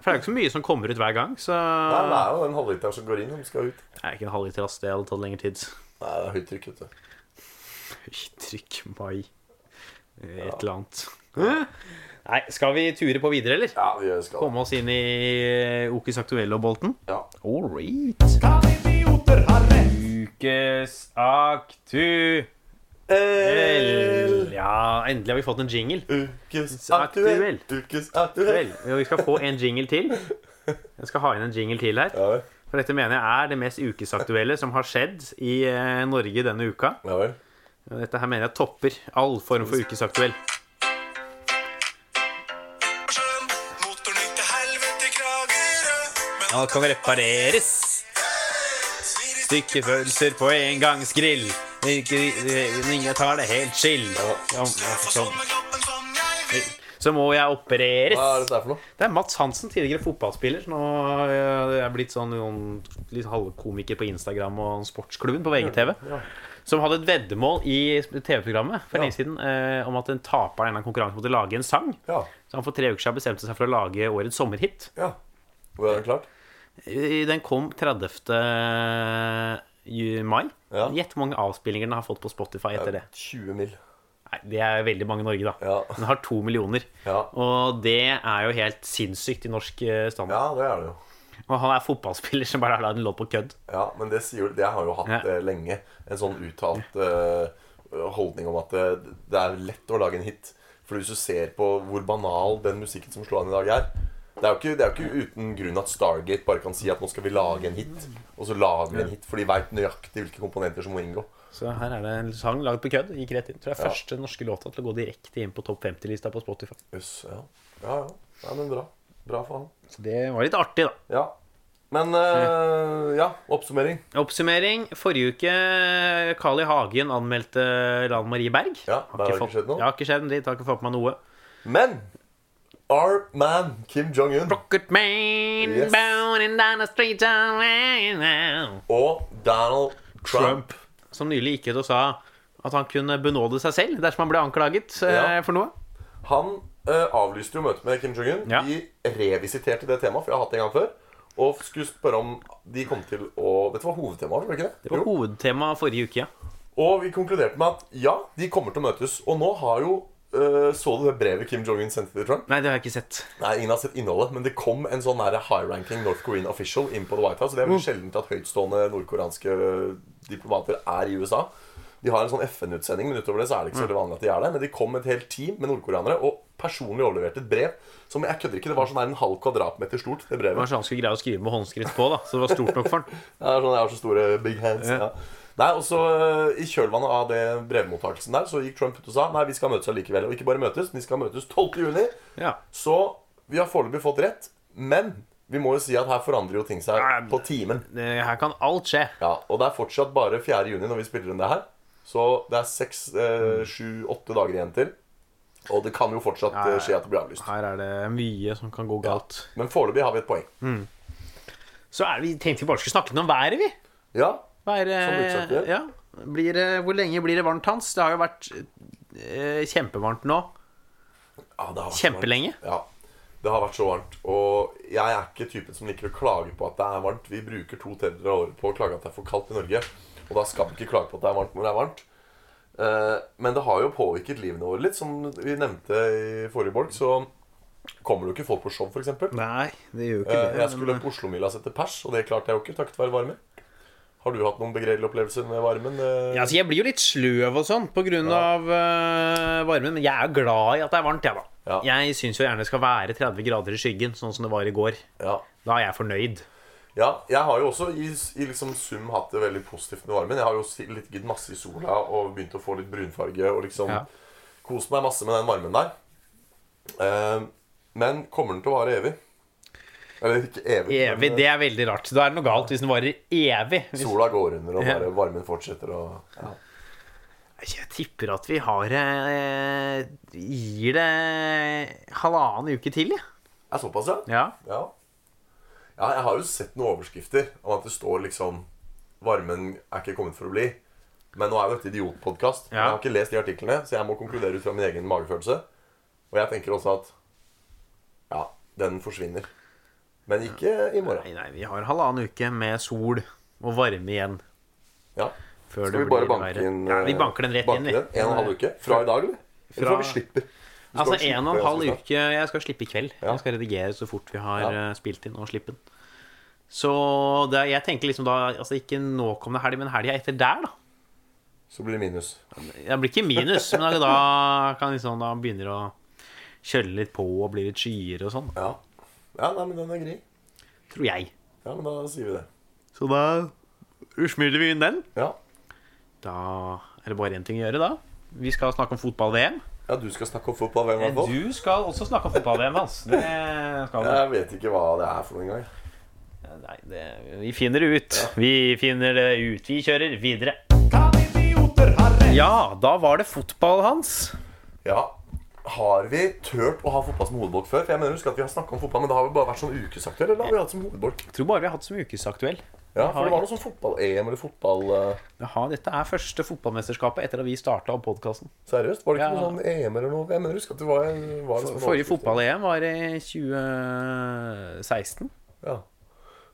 C: For det er jo ikke så mye som kommer ut hver gang, så
D: Nei, det er jo den halvliteren som går inn, som skal ut.
C: Det er ikke en halvliter ass, det hadde tatt lengre tid.
D: Nei, det er høyt trykk, vet du.
C: Høyt trykk, mai Et eller annet. Nei, skal vi ture på videre, eller?
D: Ja, vi skal
C: Komme oss inn i Okis aktuelle og bolten?
D: Ja.
C: All right.
A: Kan idioter ha rett?
C: Ukes aktuell. Ja, endelig har vi fått en jingle.
D: Eh, Ukes aktuell. Ukes aktuell.
C: Vel, og vi skal få en jingle til. Jeg skal ha inn en jingle til her.
D: Ja vel.
C: For dette mener jeg er det mest ukesaktuelle som har skjedd i eh, Norge denne uka.
D: Ja vel.
C: Og Dette her mener jeg topper all form for ukesaktuell.
B: sjøen. Motoren gikk til helvete i Kragerø. Men
C: Alt kan repareres.
B: svir i
C: Stykkefølelser på engangsgrill. Ingen tar det helt chill.
B: for sommerkroppen som jeg vil.
C: Så må jeg opereres.
D: Hva er dette her for noe?
C: Det er Mats Hansen, tidligere fotballspiller. som Nå eh, er blitt sånn noen, litt halvkomiker på Instagram og sportsklubben på VGTV. Som hadde et veddemål i TV-programmet for
D: Ja.
C: lenge siden eh, om at en taper av en eller annen konkurranse måtte lage en sang.
D: Ja.
C: Så han for tre uker siden bestemte seg for å lage årets sommerhit.
D: ja. Hvor er den klart?
C: Eh, Den kom 30. ju- mai.
D: Ja.
C: Gjett hvor mange avspillinger den har fått på Spotify etter det.
D: 20 mil.
C: Nei, det er veldig mange i Norge, da.
D: Ja.
C: Den har to millioner.
D: Ja.
C: Og det er jo helt sinnssykt i norsk eh, standard.
D: Ja, det er det jo.
C: Og han er fotballspiller som bare har lagd en låt på kødd.
D: Ja, men det sier jo Det har jo hatt
C: Ja.
D: eh, lenge. En sånn uttalt eh, holdning om at det, det er lett å lage en hit. For hvis du ser på hvor banal den musikken som slår an i dag, er det er, jo ikke, det er jo ikke uten grunn at Stargate bare kan si at nå skal vi lage en hit. Og så lager vi en hit, for de veit nøyaktig hvilke komponenter som må inngå.
C: Så her er det en sang lagd på kødd. Gikk rett inn. Tror jeg er første norske låta til å gå direkte inn på topp 50-lista på Spotify.
D: Jøss, ja. ja, ja. Nei, men bra. Bra for han.
C: Så det var litt artig, da.
D: Ja. Men eh, ja, oppsummering.
C: Oppsummering. Forrige uke eh, Carl I. Hagen anmeldte Lan Marie Berg.
D: Ja, der har det ikke
C: fått-
D: skjedd noe.
C: Ja, har ikke skjedd en dritt. Har ikke fått med meg noe.
D: Men Our man Kim Jong-un.
C: Rocket man,
D: Yes.
C: bound down the street of-
D: Og Donald Trump.
C: Som nylig gikk ut og sa at han kunne benåde seg selv dersom han ble anklaget eh,
D: Ja.
C: for noe.
D: Han eh, avlyste jo møtet med Kim Jong-un.
C: Ja.
D: De revisiterte det temaet, for jeg har hatt det en gang før. Og skulle spørre om de kom til å Dette var hovedtemaet, var det ikke det?
C: Det var
D: Jo.
C: hovedtema forrige uke, ja.
D: Og vi konkluderte med at ja, de kommer til å møtes. Og nå har jo eh, Så du det brevet Kim Jong-un sendte til Trump?
C: Nei, det har jeg ikke sett.
D: Nei, ingen har sett innholdet, men det kom en sånn nære high-ranking North Korean official inn på The White House. og Det er vel sjelden at høytstående nordkoreanske eh, diplomater er i USA. De har en sånn FN-utsending, men utover det så er det ikke så veldig vanlig at de er der. Men de kom med et helt team med nordkoreanere og personlig overleverte et brev som jeg kødder ikke, det var sånn her en halv kvadratmeter stort. det brevet.
C: Kanskje han skulle greie å skrive med håndskrift på, da. Så det var stort nok for han.
D: Det er sånn, jeg har så store big hands. Ja. Nei, og så eh, I kjølvannet av det brevmottakelsen der Så gikk Trump ut og sa Nei, vi skal møtes allikevel. Og ikke bare møtes, men vi skal møtes 12. juni.
C: Ja.
D: Så vi har foreløpig fått rett. Men vi må jo si at her forandrer jo ting seg
C: Nei.
D: på timen.
C: Det, her kan alt skje.
D: Ja, Og det er fortsatt bare 4. juni når vi spiller inn det her. Så det er seks, eh, sju, åtte dager igjen til. Og det kan jo fortsatt eh, skje at det blir avlyst.
C: Her er det mye som kan gå galt.
D: Men foreløpig har vi et poeng.
C: Så er det, vi tenkte vi bare skulle snakke noe om været, vi.
D: Ja,
C: Vær,
D: Som utsatt, ja.
C: ja. blir det, hvor lenge blir det varmt, Hans? Det har jo vært eh, kjempevarmt nå.
D: Ja, det har vært
C: Kjempelenge.
D: så varmt. Ja, det har vært så varmt. Og jeg er ikke typen som liker å klage på at det er varmt. Vi bruker to tredjedeler av året på å klage at det er for kaldt i Norge. Og da skal vi ikke klage på at det er varmt når det er varmt. Eh, Men det har jo påvirket livene våre litt, som vi nevnte i forrige bolk. Så kommer det jo ikke folk på show, f.eks.
C: Nei, det gjør jo
D: Jeg skulle på Oslomila sette pers, og det klarte jeg jo ikke takket være varmen. Har du hatt noen begredelige opplevelser med varmen? eh?
C: Ja, altså, jeg blir jo litt sløv og sånn pga. grunn av eh, varmen, men jeg er glad i at det er varmt, jeg, da.
D: Ja.
C: Jeg syns jo gjerne det skal være 30 grader i skyggen, sånn som det var i går.
D: Ja.
C: Da er jeg fornøyd.
D: Ja, jeg har jo også i, i liksom sum hatt det veldig positivt med varmen. Jeg har jo si- ligget masse i sola og begynt å få litt brunfarge og liksom
C: Ja.
D: kost meg masse med den varmen der. Eh, men kommer den til å vare evig? Eller ikke evig,
C: Evig,
D: men
C: det er veldig rart. Da er det noe galt hvis den varer evig.
D: eh,
C: Hvis,
D: sola går under, og
C: Ja.
D: bare varmen fortsetter å ja.
C: jeg tipper at vi har eh, Gir det halvannen uke til, jeg.
D: Er såpass, ja?
C: Ja.
D: ja? Ja, jeg har jo sett noen overskrifter om at det står liksom Varmen er ikke kommet for å bli. Men nå er jo dette idiotpodkast.
C: Ja.
D: Jeg har ikke lest de artiklene, så jeg må konkludere ut fra min egen magefølelse. Og jeg tenker også at ja, den forsvinner. Men ikke i morgen.
C: Nei, nei, vi har halvannen uke med sol og varme igjen.
D: Ja.
C: Før
D: Skal vi
C: det
D: bare
C: blir
D: banke
C: verre.
D: inn
C: ja, Vi banker den rett
D: banke
C: inn, vi.
D: den? En og en halv uke? Fra i dag, eller? Eller
C: Fra-
D: fra vi slipper? Vi skal
C: Altså
D: slippe
C: en og en halv
D: ganske snart.
C: uke Jeg skal slippe i kveld.
D: Ja.
C: Jeg skal redigere så fort vi har
D: Ja.
C: eh, spilt inn og slippe den. Så det, jeg tenker liksom da Altså ikke nå kommende helg, men helga etter der, da.
D: Så blir det minus.
C: Det blir ikke minus, men da, da kan liksom da begynner det å kjøle litt på og bli litt skyere og sånn.
D: Ja. ja, nei, men den er grei.
C: Tror jeg.
D: Ja, men da sier vi det.
C: Så da usmyler vi inn den.
D: Ja.
C: Da er det bare én ting å gjøre, da. Vi skal snakke om fotball-VM.
D: ja, du skal snakke om fotball, hvem i hvert fall?
C: Eh, Du skal også snakke om fotball-VM, Hans. Det skal du.
D: Jeg vet ikke hva det er for noen gang.
C: Nei, det, vi finner det ut. Vi finner det ut. Vi kjører videre.
A: Kan idioter ha rett?
C: Ja, da var det fotball, Hans.
D: Ja, har vi tørt å ha fotball som hovedbolk før? For jeg mener, husk at vi har snakket om fotball, men det har vel bare vært sånn ukesaktuell, eller har vi hatt som hovedbolk?
C: Jeg tror bare vi har hatt som ukesaktuell.
D: Ja, for det var noe sånn fotball-EM eller fotball... eh,
C: Jaha, dette er første fotballmesterskapet etter at vi starta opp podkasten.
D: Seriøst, var det ikke
C: Ja.
D: noe sånn EM eller noe? Jeg mener, husk at det var... var liksom en
C: Forrige
D: overskrift.
C: fotball-EM var i 2016.
D: Ja.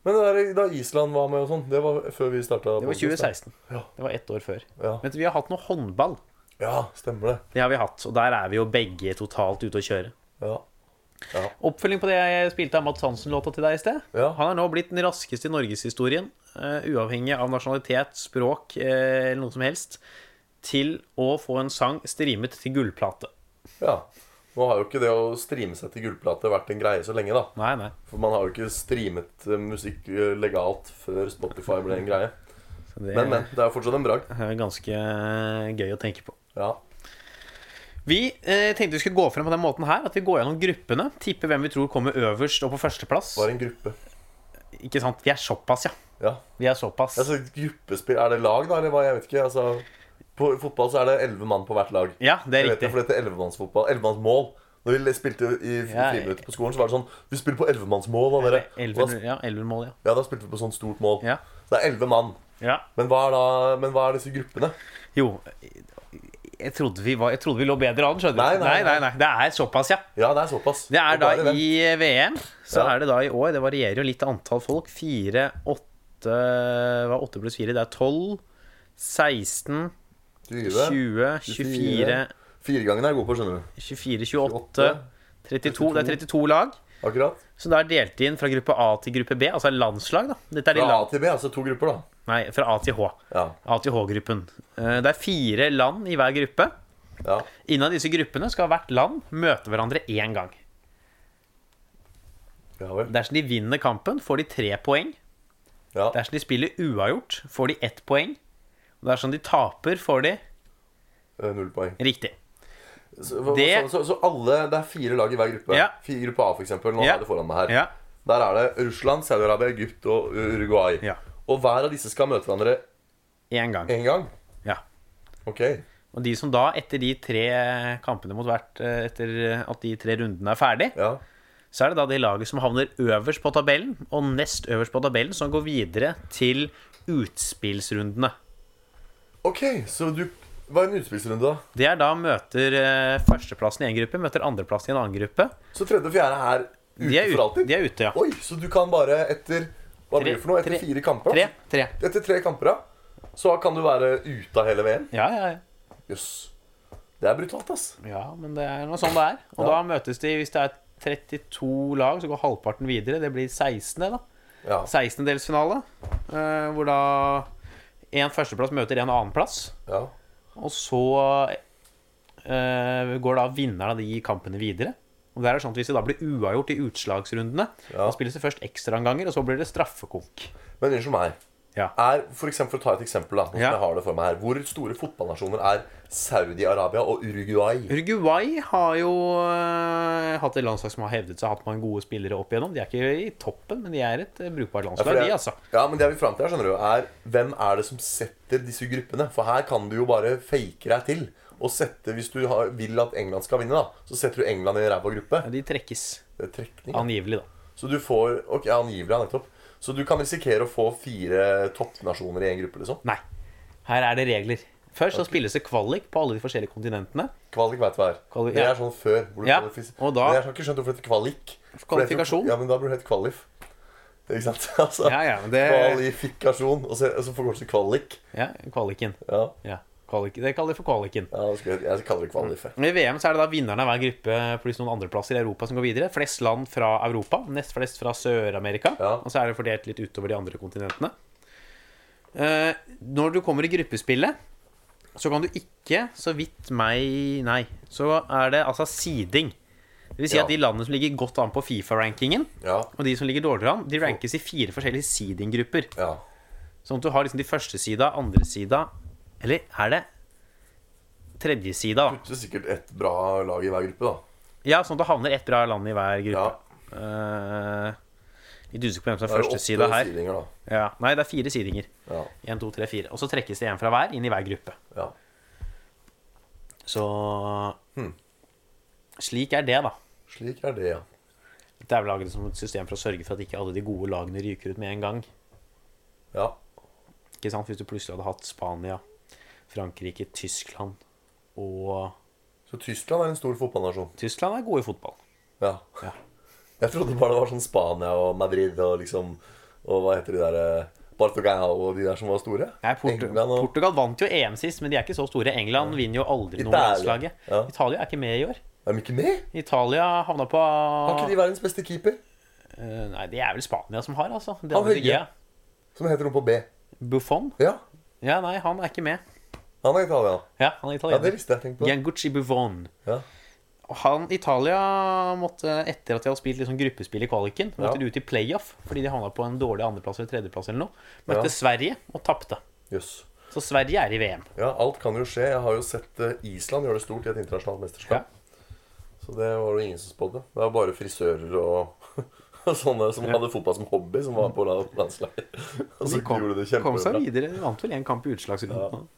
D: Men det der, da Island var med og sånn, det var før vi startet...
C: Det var 2016. Det var ett år før.
D: Ja.
C: Men vi har hatt noe håndball.
D: Ja, stemmer det.
C: Det har vi hatt, og der er vi jo begge totalt ute å kjøre.
D: Ja.
C: Oppfølging på det jeg spilte av Mads Hansen-låta til deg i sted.
D: Ja.
C: Han er nå blitt den raskeste i norgeshistorien, uh, uavhengig av nasjonalitet, språk eh, eller noe som helst, til å få en sang streamet til gullplate.
D: Ja. Nå har jo ikke det å streame seg til gullplate vært en greie så lenge, da.
C: Nei, nei.
D: For man har jo ikke streamet eh, musikk eh, legalt før Spotify ble en greie.
C: Så det
D: Men, men. Det er jo fortsatt en bragd.
C: er ganske eh, gøy å tenke på.
D: Ja.
C: Vi eh, tenkte vi skulle gå frem på den måten her, at vi går gjennom gruppene, tipper hvem vi tror kommer øverst og på førsteplass.
D: Var en gruppe.
C: Ikke sant? Vi er såpass, ja.
D: Ja.
C: Vi er såpass.
D: Altså, gruppespill Er det lag, da, eller hva? Jeg vet ikke. Altså, på fotball så er det elleve mann på hvert lag.
C: Ja, det er
D: Jeg vet
C: riktig.
D: det, for dette er ellevemannsfotball. Ellevemannsmål. Når vi spilte i fri-
C: Ja,
D: friminuttet på skolen, så var det sånn Vi spiller på elvemannsmål, da, dere. Og da,
C: Elleve ja, elleve mål, ja.
D: ja, da spilte vi på sånn stort mål.
C: Ja.
D: Så det er elleve mann.
C: ja.
D: Men hva, er da, men hva er disse gruppene?
C: Jo, jeg trodde vi, var, jeg trodde vi lå bedre an, skjønner du.
D: Nei, nei,
C: nei,
D: nei.
C: nei, nei. Det er såpass, ja.
D: Ja, det er såpass.
C: Det er
D: Og
C: da
D: da er det
C: i VM, så
D: Ja.
C: er det da i år. Det varierer jo litt antall folk. Fire, åtte Hva er åtte pluss fire? Det er tolv. 16,
D: 20.
C: 20, 24,
D: Firegangen er jeg god på, skjønner du.
C: 24, 28, 32. Det er 32 lag.
D: Akkurat.
C: Så da er delt inn fra gruppe A til gruppe B, altså landslag, da. Dette er de
D: Fra A
C: land...
D: til B, altså to grupper, da.
C: Nei, fra A til H.
D: Ja.
C: A til H-gruppen. Eh, Det er fire land i hver gruppe.
D: ja.
C: Innen disse gruppene skal hvert land møte hverandre én gang.
D: Ja vel.
C: Dersom de vinner kampen, får de tre poeng.
D: Ja.
C: Dersom de spiller uavgjort, får de ett poeng. Og dersom de taper, får de
D: eh, Null poeng.
C: riktig.
D: Så, hva-
C: Det-
D: så, så, så alle Det er fire lag i hver gruppe.
C: Ja.
D: Fire gruppe A, for eksempel. Nå
C: Ja.
D: er det foran meg her.
C: Ja.
D: Der er det Russland, Saudi-Arabia, Egypt og Uruguay.
C: Ja.
D: Og hver av disse skal møte hverandre
C: Én gang.
D: én gang.
C: Ja.
D: Ok.
C: Og de som da, etter de tre kampene mot hvert, eh, etter at de tre rundene er ferdig,
D: Ja.
C: så er det da det laget som havner øverst på tabellen, og nest øverst på tabellen, som går videre til utspillsrundene.
D: Ok, så du Hva er en utspillsrunde, da?
C: Det er da møter eh, førsteplassen i én gruppe, møter andreplassen i en annen gruppe.
D: Så tredje og fjerde er ute
C: De er,
D: for
C: ut,
D: alltid?
C: de er ute, ja.
D: Oi, så du kan bare etter
C: Tre-
D: Hva blir det for noe? Etter
C: tre-
D: fire kamper?
C: Tre. tre.
D: Etter tre kamper, ja. Så kan du være ute av hele VM?
C: Ja, ja, ja.
D: Jøss. Det er brutalt, ass.
C: Ja, men det er noe sånn det er. Og
D: Ja.
C: da møtes de, hvis det er 32 lag, så går halvparten videre. Det blir 16, det, da.
D: Ja.
C: 16-delsfinale. eh, Hvor da en førsteplass møter en annenplass.
D: ja.
C: Og så eh, går da vinneren av de kampene videre. Og det er sånn at Hvis det da blir uavgjort i utslagsrundene,
D: Ja.
C: da spilles det først ekstraomganger, og så blir det straffekonk.
D: Men unnskyld meg.
C: Ja.
D: Er, for eksempel, for å ta et eksempel, da, nå som
C: Ja.
D: jeg har det for meg her Hvor store fotballnasjoner er Saudi-Arabia og Uruguay?
C: Uruguay har jo eh, hatt et landslag som har hevdet seg, hatt mange gode spillere opp igjennom. De er ikke i toppen, men de er et eh, brukbart
D: Ja,
C: landslag,
D: for det-
C: de, altså.
D: ja, men det vi fram til her, skjønner du, er hvem er det som setter disse gruppene? For her kan du jo bare fake deg til. Og sette, Hvis du har, vil at England skal vinne, da, så setter du England i en ræva gruppe.
C: De trekkes,
D: Det er trekning.
C: angivelig, da.
D: Så du får Ok, ja, angivelig, ja, nettopp. Så du kan risikere å få fire toppnasjoner i én gruppe, liksom.
C: Nei. Her er det regler. Først så spilles det kvalik på alle de forskjellige kontinentene.
D: Kvalik vet hva er.
C: Kvali-
D: Det
C: ja.
D: er sånn før. Hvor du
C: Ja,
D: kvalifis-
C: og da-
D: Men jeg har ikke skjønt hvorfor det heter kvalik. For det heter jo-
C: Kvalifikasjon.
D: Ja, men da burde det hett kvalif. Ikke sant? Altså,
C: Ja, ja, men det-
D: Kvalifikasjon. Og så, og så forkortes det kvalik.
C: Ja, kvaliken.
D: Ja,
C: Ja, kvalik. Det kaller de for kvaliken.
D: ja det skulle jeg, jeg kaller det kvalif. jeg.
C: Men I VM så er det da vinnerne av hver gruppe pluss noen andreplasser i Europa som går videre. Flest land fra Europa, nest flest fra Sør-Amerika.
D: Ja.
C: Og så er det fordelt litt utover de andre kontinentene. Eh, når du kommer i gruppespillet, så kan du ikke, så vidt meg Nei. Så er det altså seeding. Det vil si
D: Ja.
C: at de landene som ligger godt an på Fifa-rankingen,
D: Ja.
C: og de som ligger dårligere an, de rankes i fire forskjellige seeding-grupper.
D: ja.
C: Sånn at du har liksom de første sida, andre sida Eller er det tredje sida, da?
D: Så sikkert ett bra lag i hver gruppe, da.
C: Ja, sånn at det havner ett bra land i hver
D: Ja.
C: gruppe. Eh, litt usikker på hvem som
D: Da
C: er
D: er det
C: første
D: åtte
C: sida her.
D: sidinger, da.
C: Ja. Nei, det er fire sidinger.
D: Ja.
C: Én, to, tre, fire. Og så trekkes det én fra hver inn i hver gruppe.
D: ja.
C: Så
D: Hmm.
C: Slik er det, da.
D: Slik er det, ja.
C: Det er vel laget som et system for å sørge for at ikke alle de gode lagene ryker ut med en gang.
D: Ja.
C: Ikke sant? Hvis du plutselig hadde hatt Spania, Frankrike, Tyskland og
D: Så Tyskland er en stor fotballnasjon.
C: Tyskland er gode i fotball.
D: Ja.
C: Ja.
D: Jeg trodde bare det var sånn Spania og Madrid og liksom Og hva heter de der eh, Portugal og de der som var store?
C: Nei, Port
D: England og
C: Portugal vant jo EM sist, men de er ikke så store. England vinner jo aldri noe med
D: Italia.
C: landslaget.
D: Ja.
C: Italia er ikke med i år.
D: Er de ikke med?
C: Italia havna på
D: Har
C: Ah.
D: ikke de verdens beste keeper?
C: Eh, Nei, det er vel Spania som har, altså. Det
D: Han
C: hadde ikke
D: Høie.
C: jeg.
D: Som heter noe på B.
C: Buffon?
D: Ja,
C: Ja, nei, han er ikke med.
D: han er Italia.
C: Ja, han er
D: Ja, det
C: italiener.
D: visste jeg. Tenk på det.
C: Giangucci Buffon.
D: Ja.
C: Og Han, Italia måtte, etter at de hadde spilt liksom gruppespill i kvaliken, måtte
D: Ja.
C: de ut i playoff fordi de havna på en dårlig andreplass eller tredjeplass eller noe. Møtte
D: Ja.
C: Sverige og tapte.
D: Jøss.
C: Så Sverige er i VM.
D: Ja, alt kan jo skje. Jeg har jo sett eh, Island gjøre det stort i et internasjonalt mesterskap. Så det var det ingen som spådde. Det var bare frisører og og sånne som hadde fotball som hobby, som var på la- landslaget. Og så
C: De kom,
D: gjorde det
C: kom seg
D: kjempebra.
C: videre. De vant vel én kamp i utslagsrunden.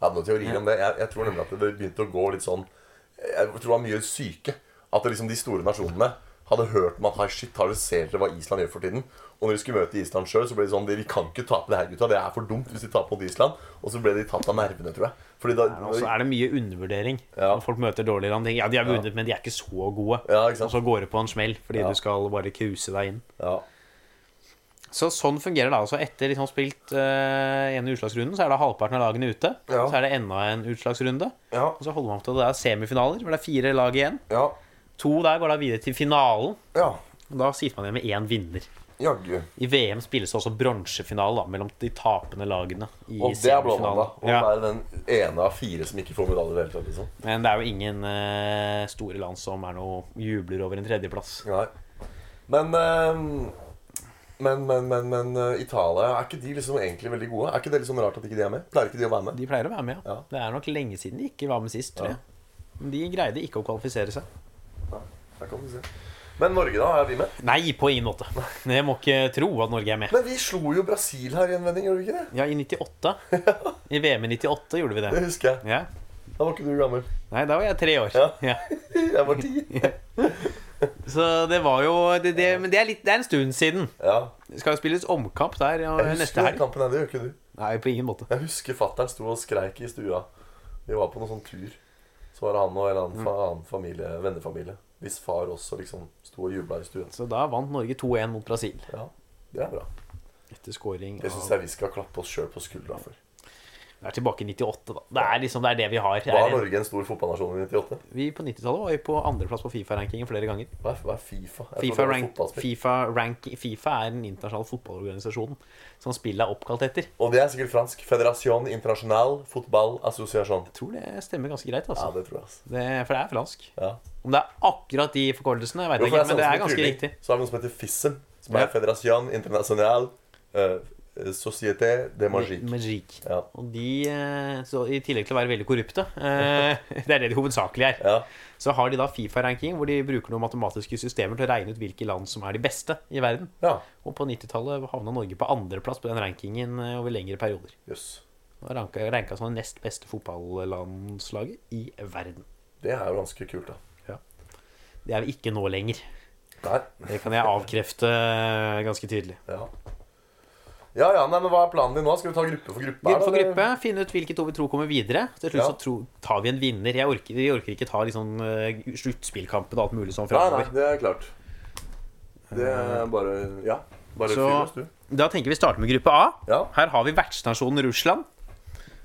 D: Jeg hadde noen teorier om det. Jeg, jeg tror nemlig at det begynte å gå litt sånn Jeg tror det var mye syke. At det liksom de store nasjonene hadde hørt om at hei, shit, har dere ser dere hva Island gjør for tiden? Og når de skulle møte Island sjøl, så ble de sånn Vi kan ikke tape det her, gutta. Det er for dumt hvis de taper mot Island. Og så ble de tatt av nervene, tror jeg. Fordi da,
C: Og så altså, er det mye undervurdering.
D: Ja.
C: Når folk møter dårligere andre ting. Ja, de er vunnet, men de er ikke så gode.
D: Ja, ikke sant?
C: Og så går det på en smell, fordi
D: Ja.
C: du skal bare kruse deg inn.
D: ja,
C: Så sånn fungerer det altså. Etter liksom spilt eh, ene utslagsrunden, så er det halvparten av lagene ute.
D: Ja.
C: Så er det enda en utslagsrunde.
D: ja,
C: Og så holder man på til det er semifinaler, hvor det er fire lag igjen.
D: ja,
C: To der går da videre til finalen.
D: ja.
C: Og da sitter man igjen med én vinner.
D: Jaggu.
C: I VM spilles det også bronsefinale da, mellom de tapende lagene. i
D: Og det er blåmandag.
C: semifinalen.
D: Å være den ene av fire som ikke får medalje i det hele tatt. Liksom.
C: Men det er jo ingen eh, store land som er noe jubler over en tredjeplass.
D: Nei. Men, eh, men, men, men, men eh, Italia, er ikke de liksom egentlig veldig gode? Er ikke det litt sånn rart at ikke de er med? Pleier ikke de å være med?
C: De pleier å være med, ja.
D: Ja.
C: Det er nok lenge siden de ikke var med sist, tror
D: Ja.
C: jeg. Men de greide ikke å kvalifisere seg.
D: Nei, der kan du se. Men Norge, da? Er vi med?
C: Nei, på ingen måte. Men Jeg må ikke tro at Norge er med.
D: Men vi slo jo Brasil her i en vending, gjorde vi ikke det?
C: Ja, i 98. I VM i 98 gjorde vi det.
D: Det husker jeg.
C: Ja.
D: Da var ikke du gammel.
C: Nei, da var jeg tre år.
D: Ja.
C: Ja.
D: Jeg var ti.
C: Så det var jo det, det, Men det er, litt, det er en stund siden.
D: Ja.
C: Det skal jo spilles omkamp der ja,
D: Jeg
C: neste
D: husker den
C: helg.
D: kampen her, det gjør ikke du.
C: Nei, på ingen måte.
D: Jeg husker fattern sto og skreik i stua. Vi var på noen sånn tur. Så var det han og en annen,
C: Mm.
D: fa annen familie, vennefamilie. Hvis far også liksom sto og jubla i stua.
C: Så da vant Norge 2-1 mot Brasil.
D: Ja, det er bra.
C: Etter scoring
D: Det syns
C: av
D: jeg vi skal klappe oss sjøl på skuldra for.
C: Det er tilbake i 98, da. Det er liksom det, er det vi har. Det
D: Var
C: Er,
D: Norge en stor fotballnasjon i 98?
C: vi på 90-tallet var jo på andreplass på Fifa-rankingen flere ganger.
D: Hva er, hva er Fifa?
C: FIFA,
D: Jeg trodde det var
C: rank,
D: fotballspill.
C: FIFA, rank, FIFA er den internasjonale fotballorganisasjonen som spillet er oppkalt etter.
D: Og det er sikkert fransk. Federation International Football Association.
C: Jeg tror det stemmer ganske greit,
D: Ja,
C: altså.
D: det tror jeg. altså.
C: Det, for det er fransk.
D: Ja.
C: Om det er akkurat de forkortelsene, vet
D: Jo,
C: jeg
D: for
C: ikke, men
D: jeg så
C: det
D: som
C: er
D: en
C: ganske
D: kuling.
C: riktig.
D: Så har vi noe som heter FISM, som er
C: Ja.
D: Federation International eh, Société de Magique.
C: Magic.
D: Ja.
C: Og de, eh, så i tillegg til å være veldig korrupte, eh, det er det de hovedsakelig er,
D: Ja.
C: så har de da Fifa-ranking, hvor de bruker noen matematiske systemer til å regne ut hvilke land som er de beste i verden.
D: Ja.
C: Og på 90-tallet havna Norge på andreplass på den rankingen eh, over lengre perioder.
D: Jøss.
C: Og ranka, ranka som det nest beste fotballandslaget i verden.
D: Det er jo ganske kult, da.
C: Det er vi ikke nå lenger.
D: Der.
C: Det kan jeg avkrefte eh, ganske tydelig.
D: Ja. Ja, ja, nei, men Hva er planen din nå? Skal vi ta gruppe for gruppe? her,
C: Gruppe for
D: da, eller?
C: gruppe, finne ut hvilke to vi tror kommer videre. Til slutt
D: Ja.
C: så tro, tar vi en vinner. Jeg orker, vi orker ikke ta liksom, eh, sluttspillkampen og alt mulig sånn
D: Nei, nei,
C: framover.
D: det er klart. Det er bare Ja. Bare
C: Eh, Så-
D: fyr løs, du.
C: Da tenker vi starter med gruppe A.
D: Ja.
C: Her har vi vertsnasjonen Russland.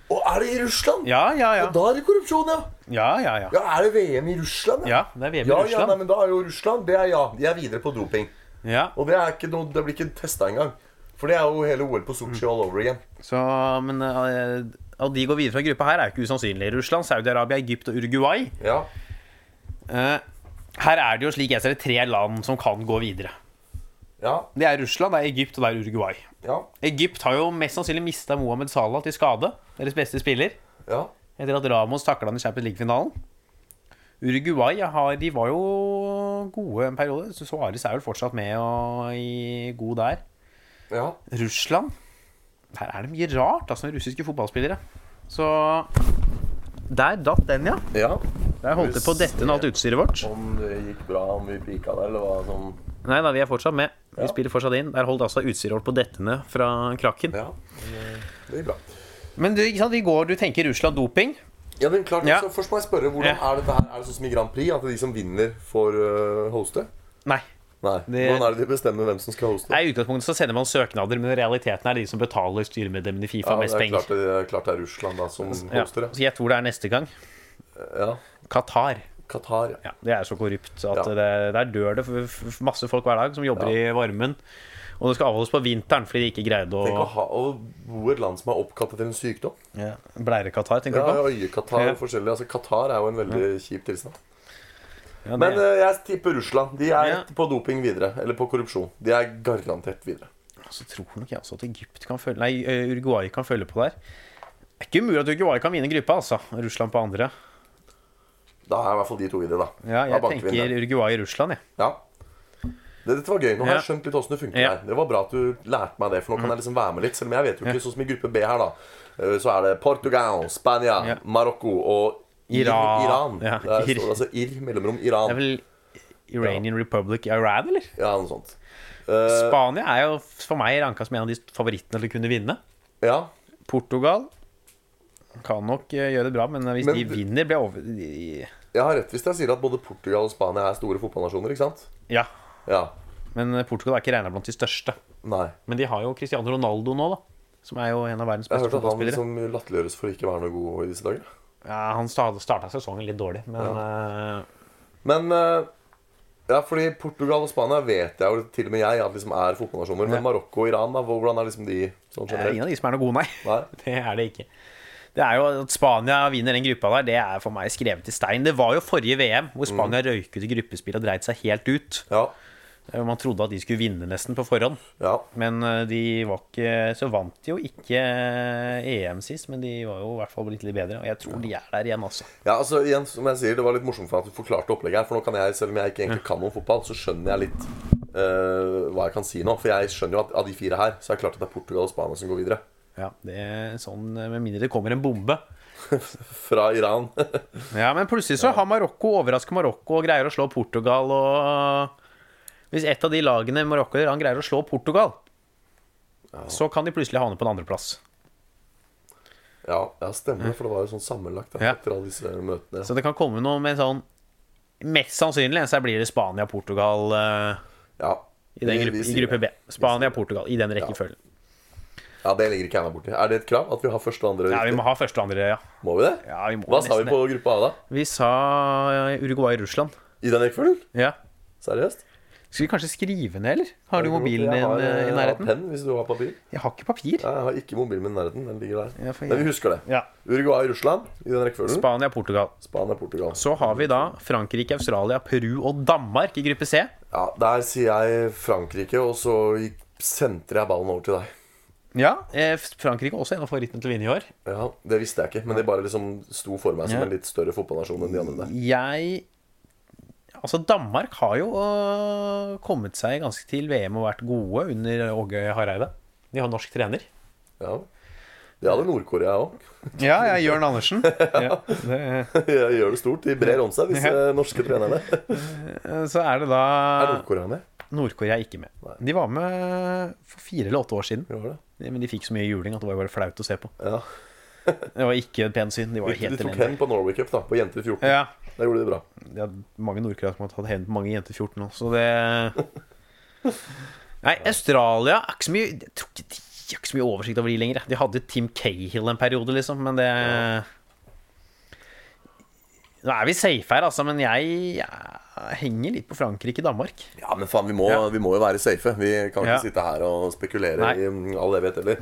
D: Og er det i Russland?
C: Ja, ja, ja.
D: Da er det korrupsjon, ja.
C: Ja, ja, ja.
D: Ja, er det VM i Russland?
C: Ja, det er VM i
D: Ja, ja, nei,
C: Russland.
D: men da er jo Russland Det er ja, de er videre på doping.
C: Ja.
D: Og det, er ikke noe, det blir ikke testa engang. For det er jo hele OL på Sotsji
C: Mm.
D: all over again.
C: Så, men eh, At de går videre fra gruppa her, er jo ikke usannsynlig. Russland, Saudi-Arabia, Egypt og Uruguay.
D: Ja,
C: Eh, her er det jo slik jeg ser det tre land som kan gå videre.
D: ja,
C: Det er Russland, det er Egypt og det er Uruguay.
D: ja.
C: Egypt har jo mest sannsynlig mista Mohammed Salah til skade. Deres beste spiller.
D: ja.
C: Etter at Ramos takla han i Champions League-finalen. Uruguay har, de var jo gode en periode. så Suarez er vel fortsatt med og i god der.
D: ja.
C: Russland Her er det mye rart, altså, med russiske fotballspillere. Så Der datt den, ja.
D: ja.
C: Der holdt det på å dette med alt utstyret vårt.
D: Om det gikk bra, om vi pika det, eller hva som
C: Nei da, vi er fortsatt med. Vi
D: Ja.
C: spiller fortsatt inn. Der holdt altså utstyret vårt på dettende fra krakken.
D: Ja. Det gikk bra.
C: Men du, ikke sant, vi går, du tenker Russland doping.
D: Ja, men klart,
C: Ja.
D: altså, Først må jeg spørre,
C: Ja.
D: hvordan er dette her? Er det sånn som i Grand Prix, at de som vinner, får øh, hoste?
C: Nei.
D: Nei.
C: Det-
D: Hvordan er det de bestemmer hvem som skal hoste?
C: Nei, I utgangspunktet så sender man søknader, men realiteten er de som betaler styremedlemmene i Fifa
D: ja, det
C: mest
D: er
C: penger.
D: klart det, det er klart det er Russland da som
C: Ja.
D: hoster,
C: Så jeg tror det er neste gang.
D: ja. ja.
C: Qatar.
D: Qatar, ja.
C: Ja, det er så korrupt at
D: Ja.
C: det, der dør det f- f- masse folk hver dag som jobber i varmen. Og det skal avholdes på vinteren fordi de ikke greide å
D: Tenk å, ha, å bo i et land som er oppkalt etter en sykdom.
C: ja. Blære Qatar, tenker
D: Ja,
C: du på?
D: Øyekatar
C: Ja.
D: og forskjellig. Altså, Qatar er jo en veldig kjip tilstand.
C: Ja, det,
D: Men eh, jeg tipper Russland. De er
C: Ja.
D: på doping videre. Eller på korrupsjon. De er garantert videre.
C: så tror nok jeg også at Egypt kan følge Nei, eh, Uruguay kan følge på der. Det er ikke umulig at Uruguay kan vinne gruppa, altså. Russland på andre.
D: Da er i hvert fall de to videre, da.
C: Ja,
D: Da
C: jeg
D: banker vi inn
C: tenker
D: der.
C: Uruguay og Russland, jeg.
D: ja. Det- Dette var gøy. Nå har
C: Ja.
D: jeg skjønt litt åssen det funker
C: Ja. Mm.
D: her. Det var bra at du lærte meg det, for nå kan jeg liksom være med litt. Selv om jeg vet jo ikke, sånn som i gruppe B her, da. eh, Så er det Portugal, Spania,
C: Ja.
D: Marokko og Ir-
C: Iran.
D: Iran.
C: Ja.
D: Der står det altså IR mellomrom Iran.
C: Det er vel Iranian Republic i Iran, eller?
D: Ja, noe sånt. Eh,
C: Spania er jo for meg ranka som en av de favorittene til å kunne vinne.
D: ja,
C: Portugal kan nok eh, gjøre det bra, men hvis
D: Men
C: de
D: du-
C: vinner, blir jeg over... de-
D: jeg har rett hvis jeg sier at både Portugal og Spania er store fotballnasjoner, ikke sant?
C: Ja.
D: Ja.
C: Men eh, Portugal er ikke regna blant de største.
D: Nei.
C: Men de har jo Cristiano Ronaldo nå, da. Som er jo en av verdens
D: Jeg har
C: beste
D: hørt at han
C: fotballspillere.
D: liksom latterliggjøres for ikke å være noe god i disse dager.
C: Ja, han starta sesongen litt dårlig, men eh,
D: Men eh, Ja, fordi Portugal og Spania vet jeg jo til og med jeg at liksom er fotballnasjoner. Men
C: Ja.
D: Marokko og Iran, da, hvordan er liksom de sånn
C: det er ingen
D: generelt?
C: av de som er noe gode, nei.
D: Nei.
C: Eh, Det er det ikke. Det er jo At Spania vinner den gruppa der, det er for meg skrevet i stein. Det var jo forrige VM, hvor Spania røyk ut i gruppespill og dreit seg helt ut.
D: Ja.
C: Eh, Man trodde at de skulle vinne nesten på forhånd.
D: ja.
C: Men eh, de var ikke Så vant de jo ikke EM sist, men de var jo i hvert fall litt litt bedre. Og jeg tror de er der igjen, altså.
D: Ja, altså igjen, som jeg sier, Det var litt morsomt for meg at du forklarte opplegget her. For nå kan jeg, selv om jeg ikke egentlig kan noe om fotball, så skjønner jeg litt eh, hva jeg kan si nå. For jeg skjønner jo at av de fire her, så er det klart at det er Portugal og Spania som går videre.
C: Ja, det er sånn eh, Med mindre det kommer en bombe.
D: Fra Iran.
C: Ja, Men plutselig så har Marokko overrasker Marokko og greier å slå Portugal og Hvis et av de lagene Marokko og Iran greier å slå Portugal, så kan de plutselig havne på en andreplass.
D: ja, ja, stemmer det. For det var jo sånn sammenlagt da,
C: Ja.
D: etter alle disse møtene.
C: Så det kan komme noe med sånn Mest sannsynlig så blir det Spania, Portugal eh,
D: Ja.
C: i, den
D: Vi- vi
C: gruppe, i
D: sier
C: gruppe
D: det.
C: B. Spania, Portugal i den rekkefølgen.
D: Ja, Det ligger ikke jeg meg borti. Er det et krav at vi har første og andre?
C: Ja, vi
D: riktig?
C: må ha første og andre, ja.
D: Må vi det?
C: Ja, vi må
D: Hva sa
C: nesten
D: vi på gruppe A, da?
C: Vi sa eh, Uruguay og Russland.
D: I den rekkefølgen?
C: Ja.
D: Seriøst?
C: Skal vi kanskje skrive ned, eller? Har du mobilen
D: Jeg
C: din
D: har,
C: eh, i
D: Jeg
C: nærheten?
D: har penn hvis du har papir.
C: Jeg har ikke papir.
D: Jeg har ikke mobilen min i nærheten. Den ligger der.
C: Ja, for jeg-
D: Men vi husker det.
C: Ja.
D: Uruguay og Russland i den rekkefølgen.
C: Spania, Portugal.
D: Spania og Portugal.
C: Så har vi da Frankrike, Australia, Peru og Danmark i gruppe C.
D: Ja, Der sier jeg Frankrike, og så sentrer jeg ballen over til deg.
C: Ja, eh, Frankrike er også en av favorittene til å vinne i år.
D: Ja, Det visste jeg ikke, men det bare liksom sto for meg som
C: Ja.
D: en litt større fotballnasjon enn de andre. der.
C: Jeg Altså, Danmark har jo øh, kommet seg ganske til VM og vært gode under Åge Hareide. De har norsk trener.
D: Ja. Det hadde Nord-Korea òg.
C: Ja, jeg er Jørn Andersen. Ja, det,
D: Gjør det stort. De brer om seg, disse eh, norske trenerne.
C: så er det da
D: Er Nord-Korea med?
C: Nord-Korea er ikke med. De var med for fire eller åtte år siden.
D: Det var det.
C: Men de fikk så mye juling at det var jo bare flaut å se på.
D: Ja.
C: Det var ikke et pent syn. De var jo
D: De
C: helt
D: tok
C: elendige.
D: hen på Norway Cup, da. På jenter 14.
C: Ja,
D: Der gjorde de det bra.
C: det er mange nordkoreanere som har tatt hevn på mange jenter 14 nå, så det Nei, Australia er ikke så mye Jeg tror ikke de har ikke så mye oversikt over de lenger. jeg. De hadde Tim Cahill en periode, liksom, men det Nå er vi safe her, altså, men jeg, jeg henger litt på Frankrike-Danmark.
D: Ja, men faen, vi må,
C: Ja.
D: vi må jo være safe. Vi kan
C: Ja.
D: ikke sitte her og spekulere
C: Nei.
D: i mm, all evighet heller.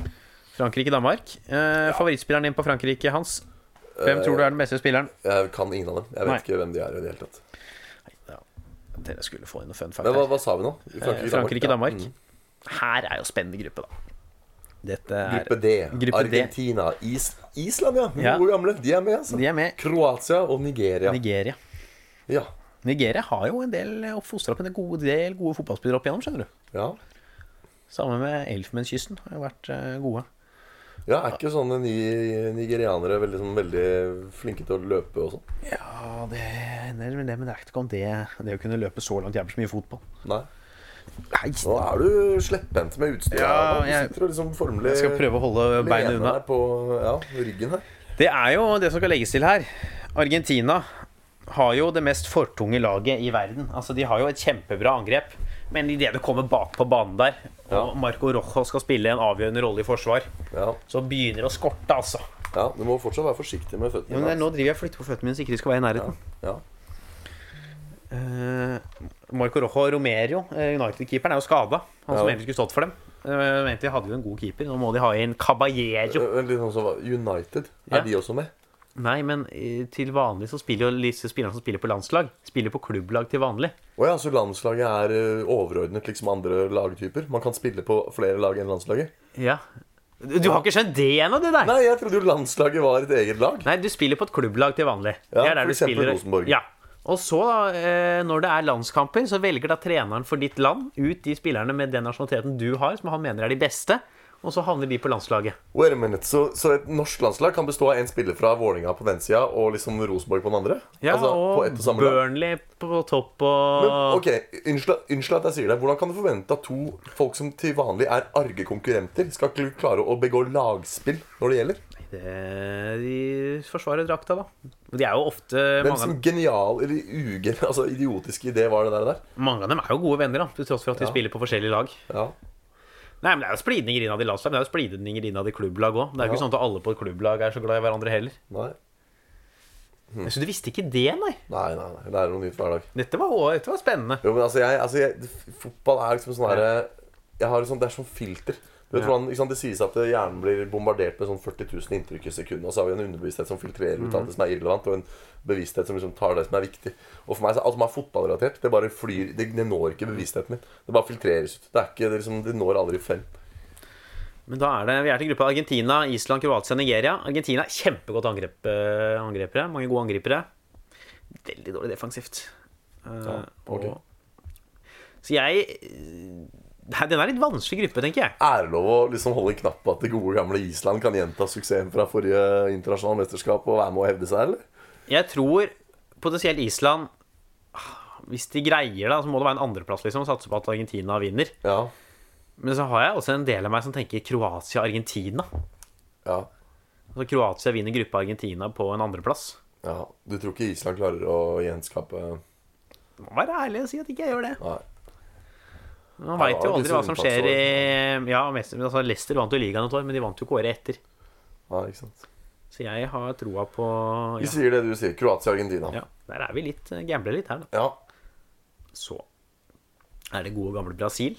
C: Frankrike-Danmark. Eh, Favorittspilleren din på Frankrike, Hans? Hvem tror du er den beste spilleren?
D: Jeg kan ingen av dem. Jeg vet
C: Nei.
D: ikke hvem de er i det hele tatt.
C: Ja, dere skulle få inn noe fun fact
D: Men hva,
C: her.
D: hva sa vi nå?
C: Eh, Frankrike-Danmark.
D: Mm.
C: Her er jo spennende gruppe, da. Dette
D: Ja.
C: er
D: Gruppe D.
C: Gruppe D.
D: Argentina. Is Island, ja. Mm,
C: Ja.
D: Gode gamle. De er med, altså.
C: De er med.
D: Kroatia og Nigeria.
C: Nigeria.
D: ja.
C: Nigeria har jo en del og fostra opp en god del gode fotballspillere opp igjennom, skjønner du.
D: ja.
C: Sammen med Elfenbenskysten har jo vært eh, gode.
D: Ja, er ikke sånne ni nigerianere veldig, sånn, veldig flinke til å løpe og sånn?
C: Ja, det hender med det, men det er ikke om det Det å kunne løpe så langt jævlig så mye fotball.
D: Nei.
C: Nei,
D: Nå er du slepphendt med utstyret.
C: Ja,
D: da. du
C: jeg-
D: sitter og liksom formelig
C: jeg skal prøve å holde beinet
D: lener
C: unna.
D: deg På, ja, ryggen her.
C: Det er jo det som skal legges til her. Argentina har jo det mest fortunge laget i verden. Altså, De har jo et kjempebra angrep, men idet du kommer bak på banen der, og Marco Rojo skal spille en avgjørende rolle i forsvar,
D: Ja.
C: så begynner det å skorte, altså.
D: Ja, Du må fortsatt være forsiktig med føttene.
C: Jo, men det er-
D: altså.
C: nå driver jeg og flytter på føttene mine så ikke de skal være i nærheten.
D: ja.
C: Eh, Marco Rojo Romero, eh, United-keeperen, er jo skada. Han som
D: Ja.
C: egentlig skulle stått for dem. Eh, men egentlig hadde jo en god keeper. Nå må de ha inn Caballero.
D: Eh, Litt sånn som United.
C: Ja.
D: Er de også med?
C: Nei, men eh, til vanlig så spiller jo disse spillerne som spiller på landslag, spiller på klubblag til vanlig.
D: Å ja, så landslaget er eh, overordnet liksom andre lagtyper? Man kan spille på flere lag enn landslaget?
C: Ja. Du du har ikke skjønt det ennå, du der?
D: Nei, jeg trodde jo landslaget var et eget lag.
C: Nei, du spiller på et klubblag til vanlig.
D: Ja,
C: Det er der
D: for
C: du
D: eksempel
C: spiller-
D: Rosenborg.
C: Ja. Og så, da, eh, når det er landskamper, så velger da treneren for ditt land ut de spillerne med den nasjonaliteten du har, som han mener er de beste, og så havner de på landslaget.
D: Wait a minute, så, så et norsk landslag kan bestå av en spiller fra Vålinga på den sida og liksom Rosenborg på den andre?
C: Ja,
D: Altså, på ett og
C: og
D: samme lag?
C: Burnley på topp og
D: Men, ok, unnskyld, unnskyld at jeg sier det. Hvordan kan du forvente at to folk som til vanlig er arge konkurrenter, skal ikke klare å begå lagspill når det gjelder?
C: det, Eh, De forsvarer drakta, da. De er jo ofte
D: Hvem
C: mange, av dem-
D: sin genial eller uge, altså idiotiske idé var det der? der?
C: mange av dem er jo gode venner, da, til tross for at de spiller på forskjellige lag.
D: Ja.
C: Nei, men Det er jo splidninger innad i landslag, men det er jo splidninger innad i klubblag òg. Det er jo ikke
D: Ja.
C: sånn at alle på et klubblag er så glad i hverandre heller.
D: Nei. Mm.
C: Jeg synes du visste ikke det, nei.
D: Nei, nei, nei. Det er noe nytt hver dag.
C: Dette var, dette var spennende.
D: Jo, men altså, jeg, altså jeg, f- Fotball er liksom sånn herre Jeg har sånn, Det er sånn filter. Du vet
C: Ja.
D: hvordan, ikke sant, Det sies at hjernen blir bombardert med sånn 40 000 inntrykk i sekundet. Og så har vi en underbevissthet som filtrerer ut alt det som er irrelevant, og en bevissthet som liksom tar det som er viktig. Og for meg så er alt som er fotballrelatert, det bare flyr Det, det når ikke bevisstheten min. Det bare filtreres ut. Det, er ikke, det, liksom, det når aldri frem.
C: Men da er det, Vi er til gruppa Argentina, Island, Kroatia, Nigeria. Argentina er kjempegodt angrep, eh, angrepere. Mange gode angripere. Veldig dårlig defensivt. Eh,
D: ok.
C: og- Så jeg eh, Den er litt vanskelig gruppe, tenker jeg.
D: Er det lov å liksom holde en knapp på at det gode, gamle Island kan gjenta suksessen fra forrige internasjonale mesterskap og være med og hevde seg, eller?
C: Jeg tror potensielt Island ah, Hvis de greier det, så må det være en andreplass. liksom og Satse på at Argentina vinner.
D: Ja.
C: Men så har jeg også en del av meg som tenker Kroatia-Argentina.
D: ja.
C: Altså Kroatia vinner gruppa Argentina på en andreplass.
D: Ja, Du tror ikke Island klarer å gjenskape
C: Må være ærlig og si at ikke jeg gjør det.
D: Nei.
C: Man veit
D: det
C: jo
D: var
C: aldri hva som skjer i
D: unntaksår.
C: Ja, mest, altså Leicester vant jo ligaen et år, men de vant jo ikke året etter.
D: Nei, ikke sant
C: Så jeg har troa på
D: Vi
C: ja,
D: sier det du sier. Kroatia-Argentina.
C: ja, Der er vi litt eh, gambler litt her, da.
D: Ja.
C: Så er det gode gamle Brasil.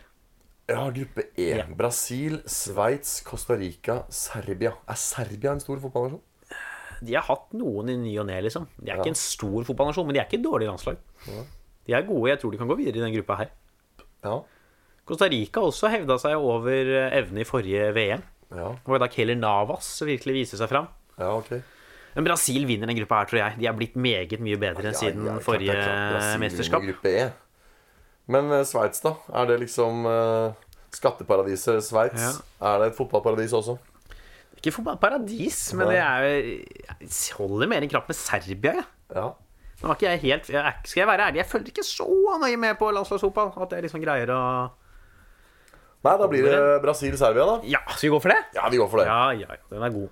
D: Ja, gruppe E.
C: Ja.
D: Brasil, Sveits, Costa Rica, Serbia. Er Serbia en stor fotballnasjon?
C: De har hatt noen i ny og ne, liksom. De er ikke en stor fotballnasjon, men de er ikke et dårlig landslag. De er gode. Jeg tror de kan gå videre i den gruppa her.
D: Ja.
C: Costa Rica også hevda seg over eh, evne i forrige VM.
D: Ja,
C: Det var jo da Keller Navas virkelig viste seg fram.
D: ja ok.
C: Men Brasil vinner den gruppa her, tror jeg. De er blitt meget mye bedre enn siden
D: Ja, ja, klart det er
C: forrige
D: klart. Brasil
C: mesterskap.
D: vinner Gruppe E. Men eh, Sveits, da? Er det liksom eh, skatteparadiset Sveits? Er det et fotballparadis også?
C: Ikke fotballparadis, men det er Jeg holder mer enn knapt med Serbia, jeg.
D: Ja.
C: Nå var ikke jeg helt jeg, er- Skal jeg være ærlig, jeg følger ikke så nøye med på landslagsfotball. At jeg liksom greier å
D: Nei, da blir det Brasil-Serbia, da.
C: Ja, skal vi gå for det?
D: Ja, vi går for det.
C: Ja, ja, ja. Den er god.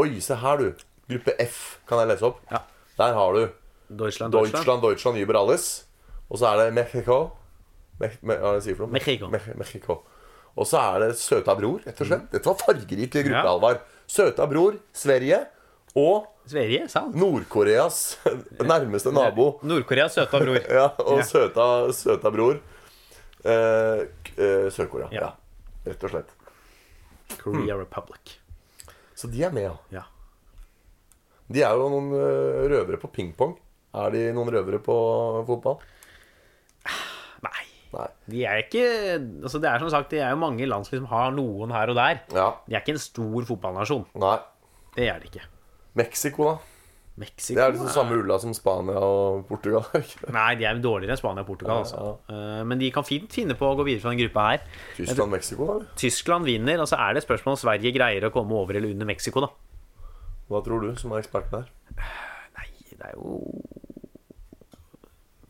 D: Oi, se her, du. Gruppe F kan jeg lese opp.
C: Ja.
D: Der har du
C: Deutschland, Deutschland.
D: Deutschland, Deutschland über alles. Og så er det Mexico. Me- me- Hva er det jeg sier for noe?
C: Mexico.
D: Me- Mexico. Og så er det Søta Bror, rett og slett. Dette var fargerik gruppe,
C: Mm. Ja.
D: Alvar. Søta Bror, Sverige og
C: Sverige, sant?
D: Nord-Koreas nærmeste nabo.
C: Nord-Korea, søta bror.
D: Ja, og
C: Ja.
D: Søta, søta Bror. Eh, k- eh, Sør-Korea.
C: Ja.
D: Ja. Rett og slett.
C: Korea Republic.
D: Så de er med, ja.
C: Ja.
D: De er jo noen eh, røvere på pingpong. Er de noen røvere på fotball?
C: Nei.
D: Nei.
C: De er ikke altså Det er som sagt, det er jo mange land som liksom har noen her og der.
D: Ja.
C: De er ikke en stor fotballnasjon.
D: Nei.
C: Det er de ikke.
D: Mexico, da?
C: Mexico
D: Det er liksom samme ulla som Spania og Portugal. er det ikke det?
C: Nei, de er dårligere enn Spania og Portugal. Altså. Eh, Men de kan fint finne på å gå videre fra den gruppa her.
D: Tyskland, Mexico, da? eller?
C: Tyskland vinner, og så er det et spørsmål om Sverige greier å komme over eller under Mexico, da.
D: Hva tror du, som er eksperten her?
C: Nei, det er jo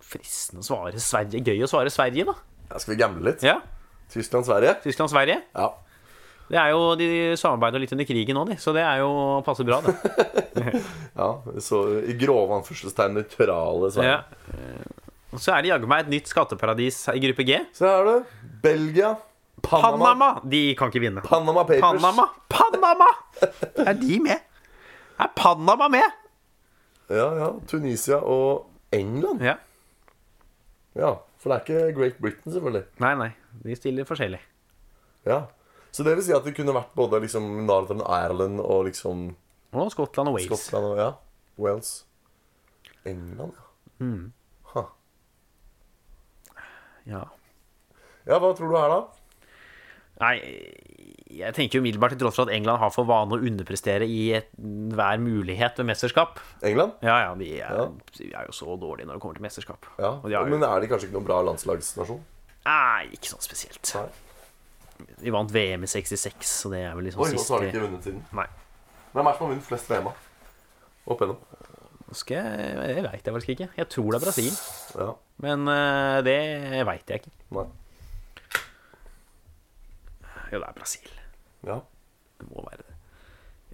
C: fristende å svare Sverige. Gøy å svare Sverige, da.
D: Ja, skal vi gamble litt?
C: Ja,
D: Tyskland, Sverige?
C: Tyskland-Sverige.
D: Ja.
C: Det er jo, De samarbeider litt under krigen nå, de, så det er jo passer bra, det.
D: ja. Så i grove anførselstegn nøytrale Sverige.
C: Ja. Eh, Og så er det jaggu meg et nytt skatteparadis i gruppe G.
D: Så her er det Belgia, Panama, Panama,
C: Panama! De kan ikke vinne.
D: Papers.
C: Panama! Panama! Er de med? Er Panama med?
D: Ja, ja. Tunisia og England.
C: Ja.
D: Ja, For det er ikke Great Britain, selvfølgelig.
C: Nei, nei. De stiller forskjellig.
D: Ja. Så det vil si at det kunne vært både liksom Northern Ireland og liksom
C: Og Skottland og Wales.
D: Skottland og ja. Wales. England, ja. Huh.
C: Ja.
D: Ja, hva tror du her, da?
C: Nei, jeg tenker umiddelbart til tross for at England har for vane å underprestere i et- hver mulighet ved mesterskap.
D: England?
C: Ja, ja, de er,
D: Ja.
C: de er jo så dårlige når det kommer til mesterskap.
D: Ja.
C: Og de har jo-
D: Men er de kanskje ikke noen bra landslagsnasjon?
C: Nei, ikke sånn spesielt.
D: Nei.
C: Vi vant VM i 66, så det er vel liksom
D: Oi, og så har de
C: siste
D: ikke vunnet siden.
C: Nei.
D: Hvem er det som har vunnet flest VM-a? Opp igjennom.
C: Nå skal jeg Det veit jeg faktisk ikke. Jeg tror det er Brasil,
D: Ja.
C: men eh, det veit jeg ikke.
D: Nei.
C: Jo, det er Brasil.
D: Ja.
C: Det må være det.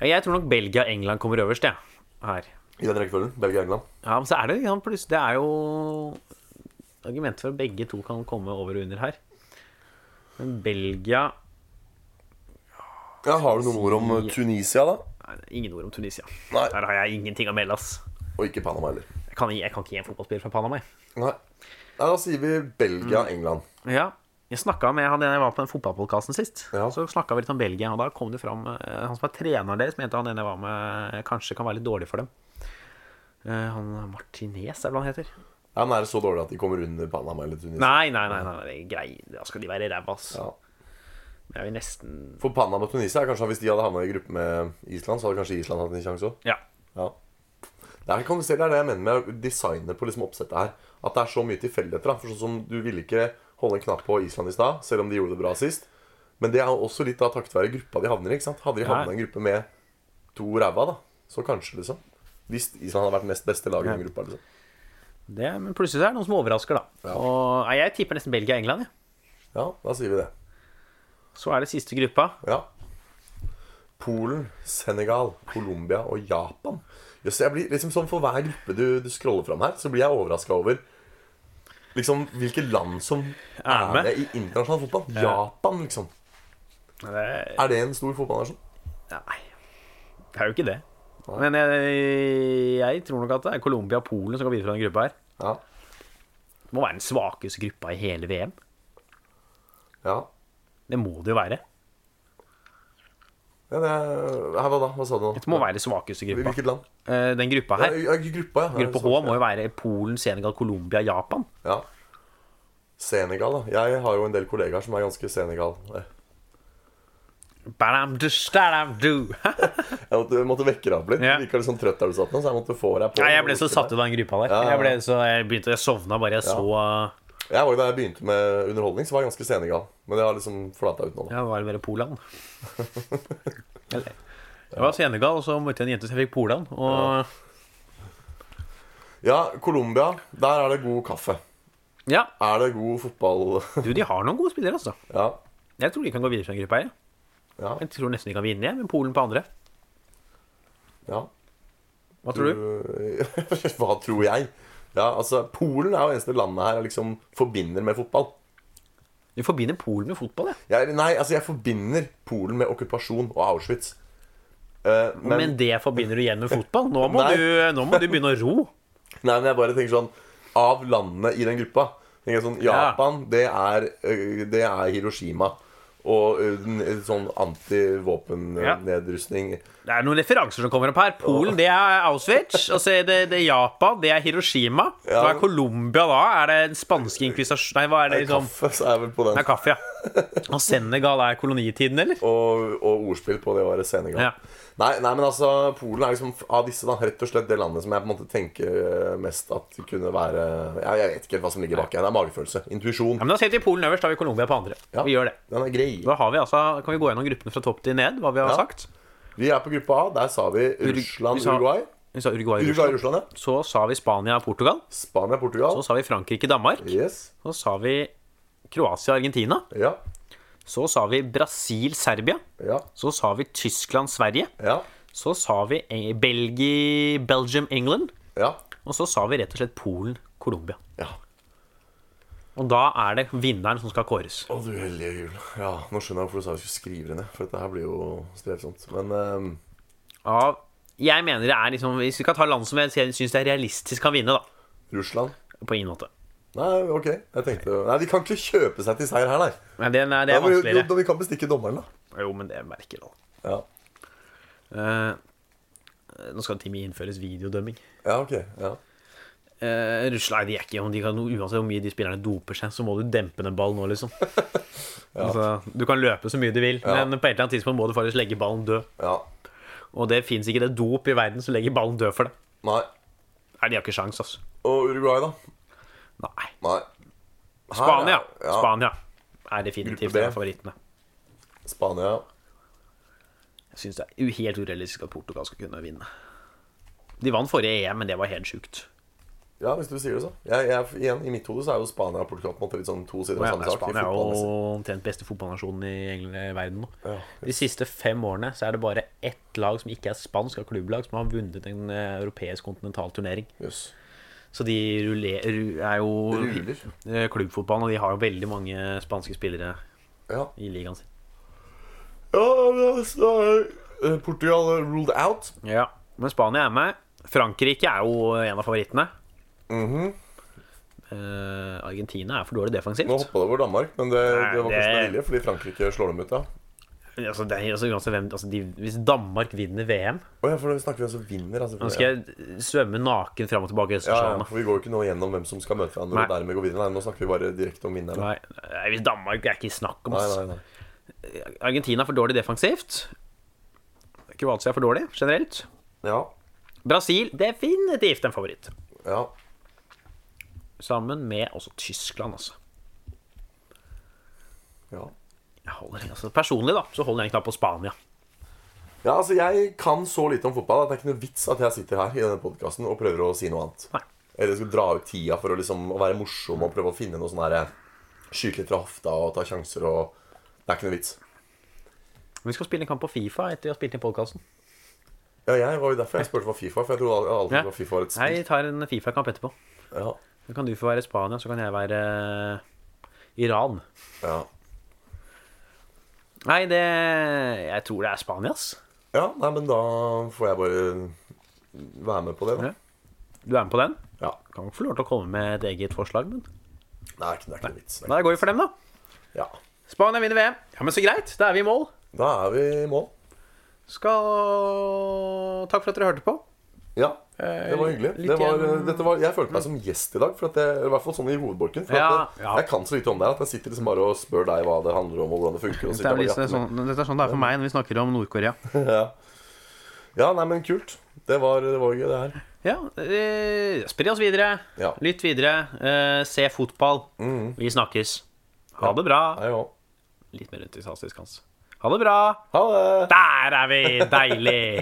C: Ja, jeg tror nok Belgia og England kommer øverst, jeg. Ja. Her.
D: I den rekkefølgen. Belgia-England.
C: Ja, men så er det liksom plutselig Det er jo argument for at begge to kan komme over og under her. Men Belgia
D: Ja, har du noen ord om eh, Tunisia, da?
C: Nei, det er ingen ord om Tunisia.
D: Nei.
C: Der har jeg ingenting å melde, ass.
D: Og ikke Panama heller.
C: Jeg kan, jeg kan ikke gi en fotballspiller fra Panama, jeg.
D: Nei. Nei, Da sier vi
C: Mm.
D: Belgia-England.
C: Ja. Jeg snakket med han ene jeg var på den fotballpodkasten sist.
D: Ja.
C: Så snakka vi litt om Belgia, og da kom det fram eh, Han som er treneren deres, mente han ene jeg var med, eh, kanskje kan være litt dårlig for dem. Eh, Han Martinez, er det hva han heter?
D: Ja, men er det så dårlig at de kommer under Panama eller Tunisia?
C: Nei, nei, nei, nei, nei grei. da skal de være ræva, ass.
D: Ja.
C: Det er jo nesten
D: For Panama og Tunisia er kanskje Hvis de hadde havna i gruppe med Island, så hadde kanskje Island hatt en sjanse òg.
C: Ja.
D: Ja. Der kan du se, det er det jeg mener med å designe på liksom oppsettet her. At det er så mye tilfeldigheter. da. For sånn som Du ville ikke holde en knapp på Island i stad, selv om de gjorde det bra sist. Men det er jo også litt da takket være gruppa de havner i. ikke sant? Hadde de havna i en gruppe med to ræva, da, så kanskje, liksom. Hvis Island hadde vært nest beste lag i den gruppa. liksom.
C: Det, men plutselig så er det noen som overrasker, da.
D: Ja.
C: Og nei, Jeg tipper nesten Belgia og England. Ja.
D: Ja, da sier vi det.
C: Så er det siste gruppa.
D: Ja. Polen, Senegal, Colombia og Japan. Jøss, jeg blir liksom sånn For hver gruppe du, du scroller fram her, så blir jeg overraska over Liksom hvilke land som er
C: med.
D: med i internasjonal fotball. Japan, liksom.
C: Det,
D: Er det en stor fotballnasjon?
C: nei, det er jo ikke det. Men jeg, jeg tror nok at det er Colombia og Polen som går videre fra den gruppa her.
D: Ja.
C: Det må være den svakeste gruppa i hele VM.
D: ja.
C: Det må det jo være.
D: ja det er, Hæ, hva da? Hva sa du nå?
C: Det må være den svakeste gruppa.
D: Hvilket land?
C: Eh, Den gruppa
D: Ja,
C: her.
D: ja, gruppa, ja.
C: Gruppe H må jo være Polen, Senegal, Colombia, Japan.
D: Ja. Senegal, da. Jeg har jo en del kollegaer som er ganske Senegal. Jeg
C: Badam, du, stadam, du.
D: måtte, måtte vekke deg opp litt.
C: Ja.
D: Du virka litt sånn trøtt der du satt nå, så jeg måtte få deg på.
C: Nei, jeg ble så satt ut av den gruppa der.
D: Ja, ja, ja.
C: Jeg, ble så, jeg, begynte, jeg sovna bare jeg så
D: Jeg var jo Da jeg begynte med underholdning, så var jeg ganske senegal. Men jeg har liksom flata ut nå. da
C: Ja, det var bare Poland. Eller Jeg var Senegal, og så møtte jeg en jente som jeg fikk Poland. Og
D: Ja, Colombia. Der er det god kaffe.
C: ja,
D: Er det god fotball
C: du, de har noen gode spillere, altså.
D: Ja.
C: Jeg tror de kan gå videre fra den gruppa her.
D: Ja.
C: Jeg tror nesten de kan vinne, jeg, med Polen på andre.
D: ja.
C: Hva tror du?
D: Hva tror jeg? Ja, altså, Polen er jo eneste landet her jeg liksom forbinder med fotball.
C: Du forbinder Polen med fotball, ja.
D: Jeg, nei, altså, jeg forbinder Polen med okkupasjon og Auschwitz. Eh,
C: Men, det forbinder du igjen med fotball. Nå må,
D: Nei.
C: du, nå må du begynne å ro.
D: Nei, men jeg bare tenker sånn Av landene i den gruppa tenker jeg sånn, Japan, det, er, øh, det er Hiroshima Og øh, den- sånn
C: Ja.
D: antivåpen-nedrustning
C: Det er noen referanser som kommer opp her. Polen, det er Auschwitz. Og så er det, det er Japan, det er Hiroshima. Hva er Colombia da? Er det den spanske inkvisasjon... Nei, hva er det liksom?
D: Kaffe så er vel på den
C: Det er kaffe, ja. Og Senegal er kolonitiden, eller?
D: og, og ordspill på det året Senegal
C: Ja.
D: nei, nei, men altså Polen er liksom av disse da Rett og slett det landet som jeg på en måte tenker øh, mest At det kunne være Jeg, jeg vet ikke helt hva som ligger bak her Det er magefølelse,
C: Ja,
D: intuisjon
C: men Da setter vi Polen øverst, da har vi Colombia på andre.
D: Ja.
C: Vi gjør det.
D: Den er grei
C: Da har vi altså, kan vi gå gjennom gruppene fra topp til ned, hva vi har
D: Ja.
C: sagt.
D: Vi er på gruppa A, der sa vi
C: vi
D: Russland,
C: sa-
D: Uruguay
C: Vi sa Uruguay,
D: Uruguay,
C: Russland.
D: Russland, ja
C: Så sa vi Spania og Portugal.
D: Spania, Portugal
C: Så sa vi Frankrike, Danmark.
D: Yes,
C: Så sa vi Kroatia, Argentina.
D: ja,
C: Så sa vi Brasil, Serbia.
D: ja
C: Så sa vi Tyskland, Sverige.
D: Ja,
C: Så sa vi eh, Belgi, Belgium, England.
D: ja,
C: Og så sa vi rett og slett Polen, Colombia.
D: ja.
C: Og da er det vinneren som skal kåres.
D: Å, du hellige jul. Ja, nå skjønner jeg hvorfor du sa vi skulle skrive det ned, for dette her blir jo strevsomt. Men ehm,
C: Av Jeg mener det er liksom Hvis vi skal ta land som jeg syns det er realistisk kan vinne, da.
D: Russland
C: På ingen måte.
D: Nei, ok. Jeg tenkte Nei, de kan ikke kjøpe seg til seier her, nei.
C: Nei, det, nei, det
D: Da
C: er
D: må vi,
C: vanskeligere.
D: da vi kan bestikke dommeren, da.
C: Jo, men det merker alle.
D: Ja,
C: Eh, nå skal Timmy innføres videodømming.
D: ja ok. Ja.
C: Eh, Russland, nei, de er ikke, om de kan, Uansett hvor mye de spillerne doper seg, så må du dempe den ballen nå, liksom. altså, du kan løpe så mye du vil, men på et eller annet tidspunkt må du faktisk legge ballen død.
D: ja.
C: Og det fins ikke det dop i verden som legger ballen død for deg.
D: Nei.
C: Nei, de har ikke sjans, altså.
D: Og Uruguay, da?
C: Nei.
D: Nei. Her,
C: Spania.
D: Ah, Ja.
C: Spania er definitivt
D: Gruppe B.
C: en av favorittene.
D: Spania.
C: Jeg syns det er helt urealistisk at Portugal skal kunne vinne. De vant forrige EM, men det var helt sjukt.
D: Ja, hvis du sier det så. Jeg, jeg, igjen, I mitt hode så er jo Spania og Portugal på en måte litt sånn to sider av samme sak. i
C: Spania er
D: fotballmessig.
C: jo omtrent beste fotballnasjonen i hele verden nå.
D: Ja.
C: De siste fem årene så er det bare ett lag som ikke er spansk av klubblag, som har vunnet en eh, europeisk kontinentalturnering.
D: Jøss.
C: Så de ruller, ru- er jo
D: Ruler.
C: eh, klubbfotballen, og de har jo veldig mange spanske spillere
D: Ja.
C: i ligaen sin.
D: ja men så er eh, Portugal eh, ruled out.
C: Ja, men Spania er med. Frankrike er jo en av favorittene. Eh, Mhm. Argentina er for dårlig defensivt.
D: Nå hoppa det over Danmark, men det,
C: Nei,
D: det var kanskje med
C: det-
D: vilje, fordi Frankrike slår dem ut, ja.
C: Altså, det er, altså, uansett hvem, altså, de, hvis Danmark vinner VM
D: Å ja, for da snakker vi om som vinner. Altså,
C: Nå skal jeg svømme naken fram og tilbake i
D: ja, ja,
C: Østersjøen. da.
D: for Vi går jo ikke nå gjennom hvem som skal møte hverandre.
C: Nei.
D: og dermed gå videre Nei, Nå snakker vi bare direkte om vinnerne.
C: Nei, nei, hvis Danmark er ikke i snakk om
D: Nei,
C: oss.
D: nei, nei.
C: Argentina er for dårlig defensivt. Kroatia er for dårlig generelt.
D: Ja.
C: Brasil definitivt en favoritt.
D: ja.
C: Sammen med også Tyskland, altså.
D: Ja.
C: Jeg holder, altså personlig da, så holder jeg en knapp på Spania.
D: ja, altså Jeg kan så lite om fotball at det er ikke noe vits at jeg sitter her i denne podcasten og prøver å si noe annet.
C: Nei.
D: Eller skal dra ut tida for å liksom å være morsom og prøve å finne noe sånn herre Skyte litt fra hofta og ta sjanser og Det er ikke noe vits.
C: Men vi skal spille en kamp på Fifa etter vi har spilt inn podkasten.
D: Ja, jeg var jo derfor jeg spurte hva Fifa for jeg trodde al- aldri
C: Ja.
D: ja. Fifa var
C: Nei,
D: et spill.
C: vi tar en Fifa-kamp etterpå.
D: Ja.
C: Så kan du få være Spania, så kan jeg være eh, Iran.
D: Ja.
C: Nei, det Jeg tror det er Spania, ass.
D: ja, nei, men da får jeg bare øh, være med på det, da.
C: Ja. Du er med på den?
D: Ja.
C: Kan ikke få lov til å komme med et eget forslag, men
D: Det er ikke, det er ikke noe vits. Det er
C: Da går vi for dem, da.
D: ikke- Ja.
C: Spania vinner VM. Ja, men så greit. Da er vi i mål.
D: Da er vi i mål.
C: Skal Takk for at dere hørte på.
D: Ja, det var hyggelig.
C: litt
D: Det var,
C: igjen-
D: dette var, jeg følte meg som gjest i dag, for at jeg, i hvert fall sånn i hovedbolken. For
C: Ja,
D: at jeg,
C: ja.
D: jeg kan så lite om det her at jeg sitter liksom bare og spør deg hva det handler om, og hvordan det funker. Og så
C: Dette er,
D: sitter jeg
C: liksom,
D: bare og jatter
C: sånn, dette er sånn det er for meg når vi snakker om Nord-Korea.
D: med. ja. ja, nei, men kult. Det var, det var gøy, det her.
C: Ja, eh, spre oss videre.
D: Ja.
C: Lytt videre. Eh, se fotball. Vi snakkes. Ha det bra.
D: Hei, jo.
C: Litt mer entusiastisk, hans. Ha det bra.
D: Ha det!
C: Der er vi! Deilig!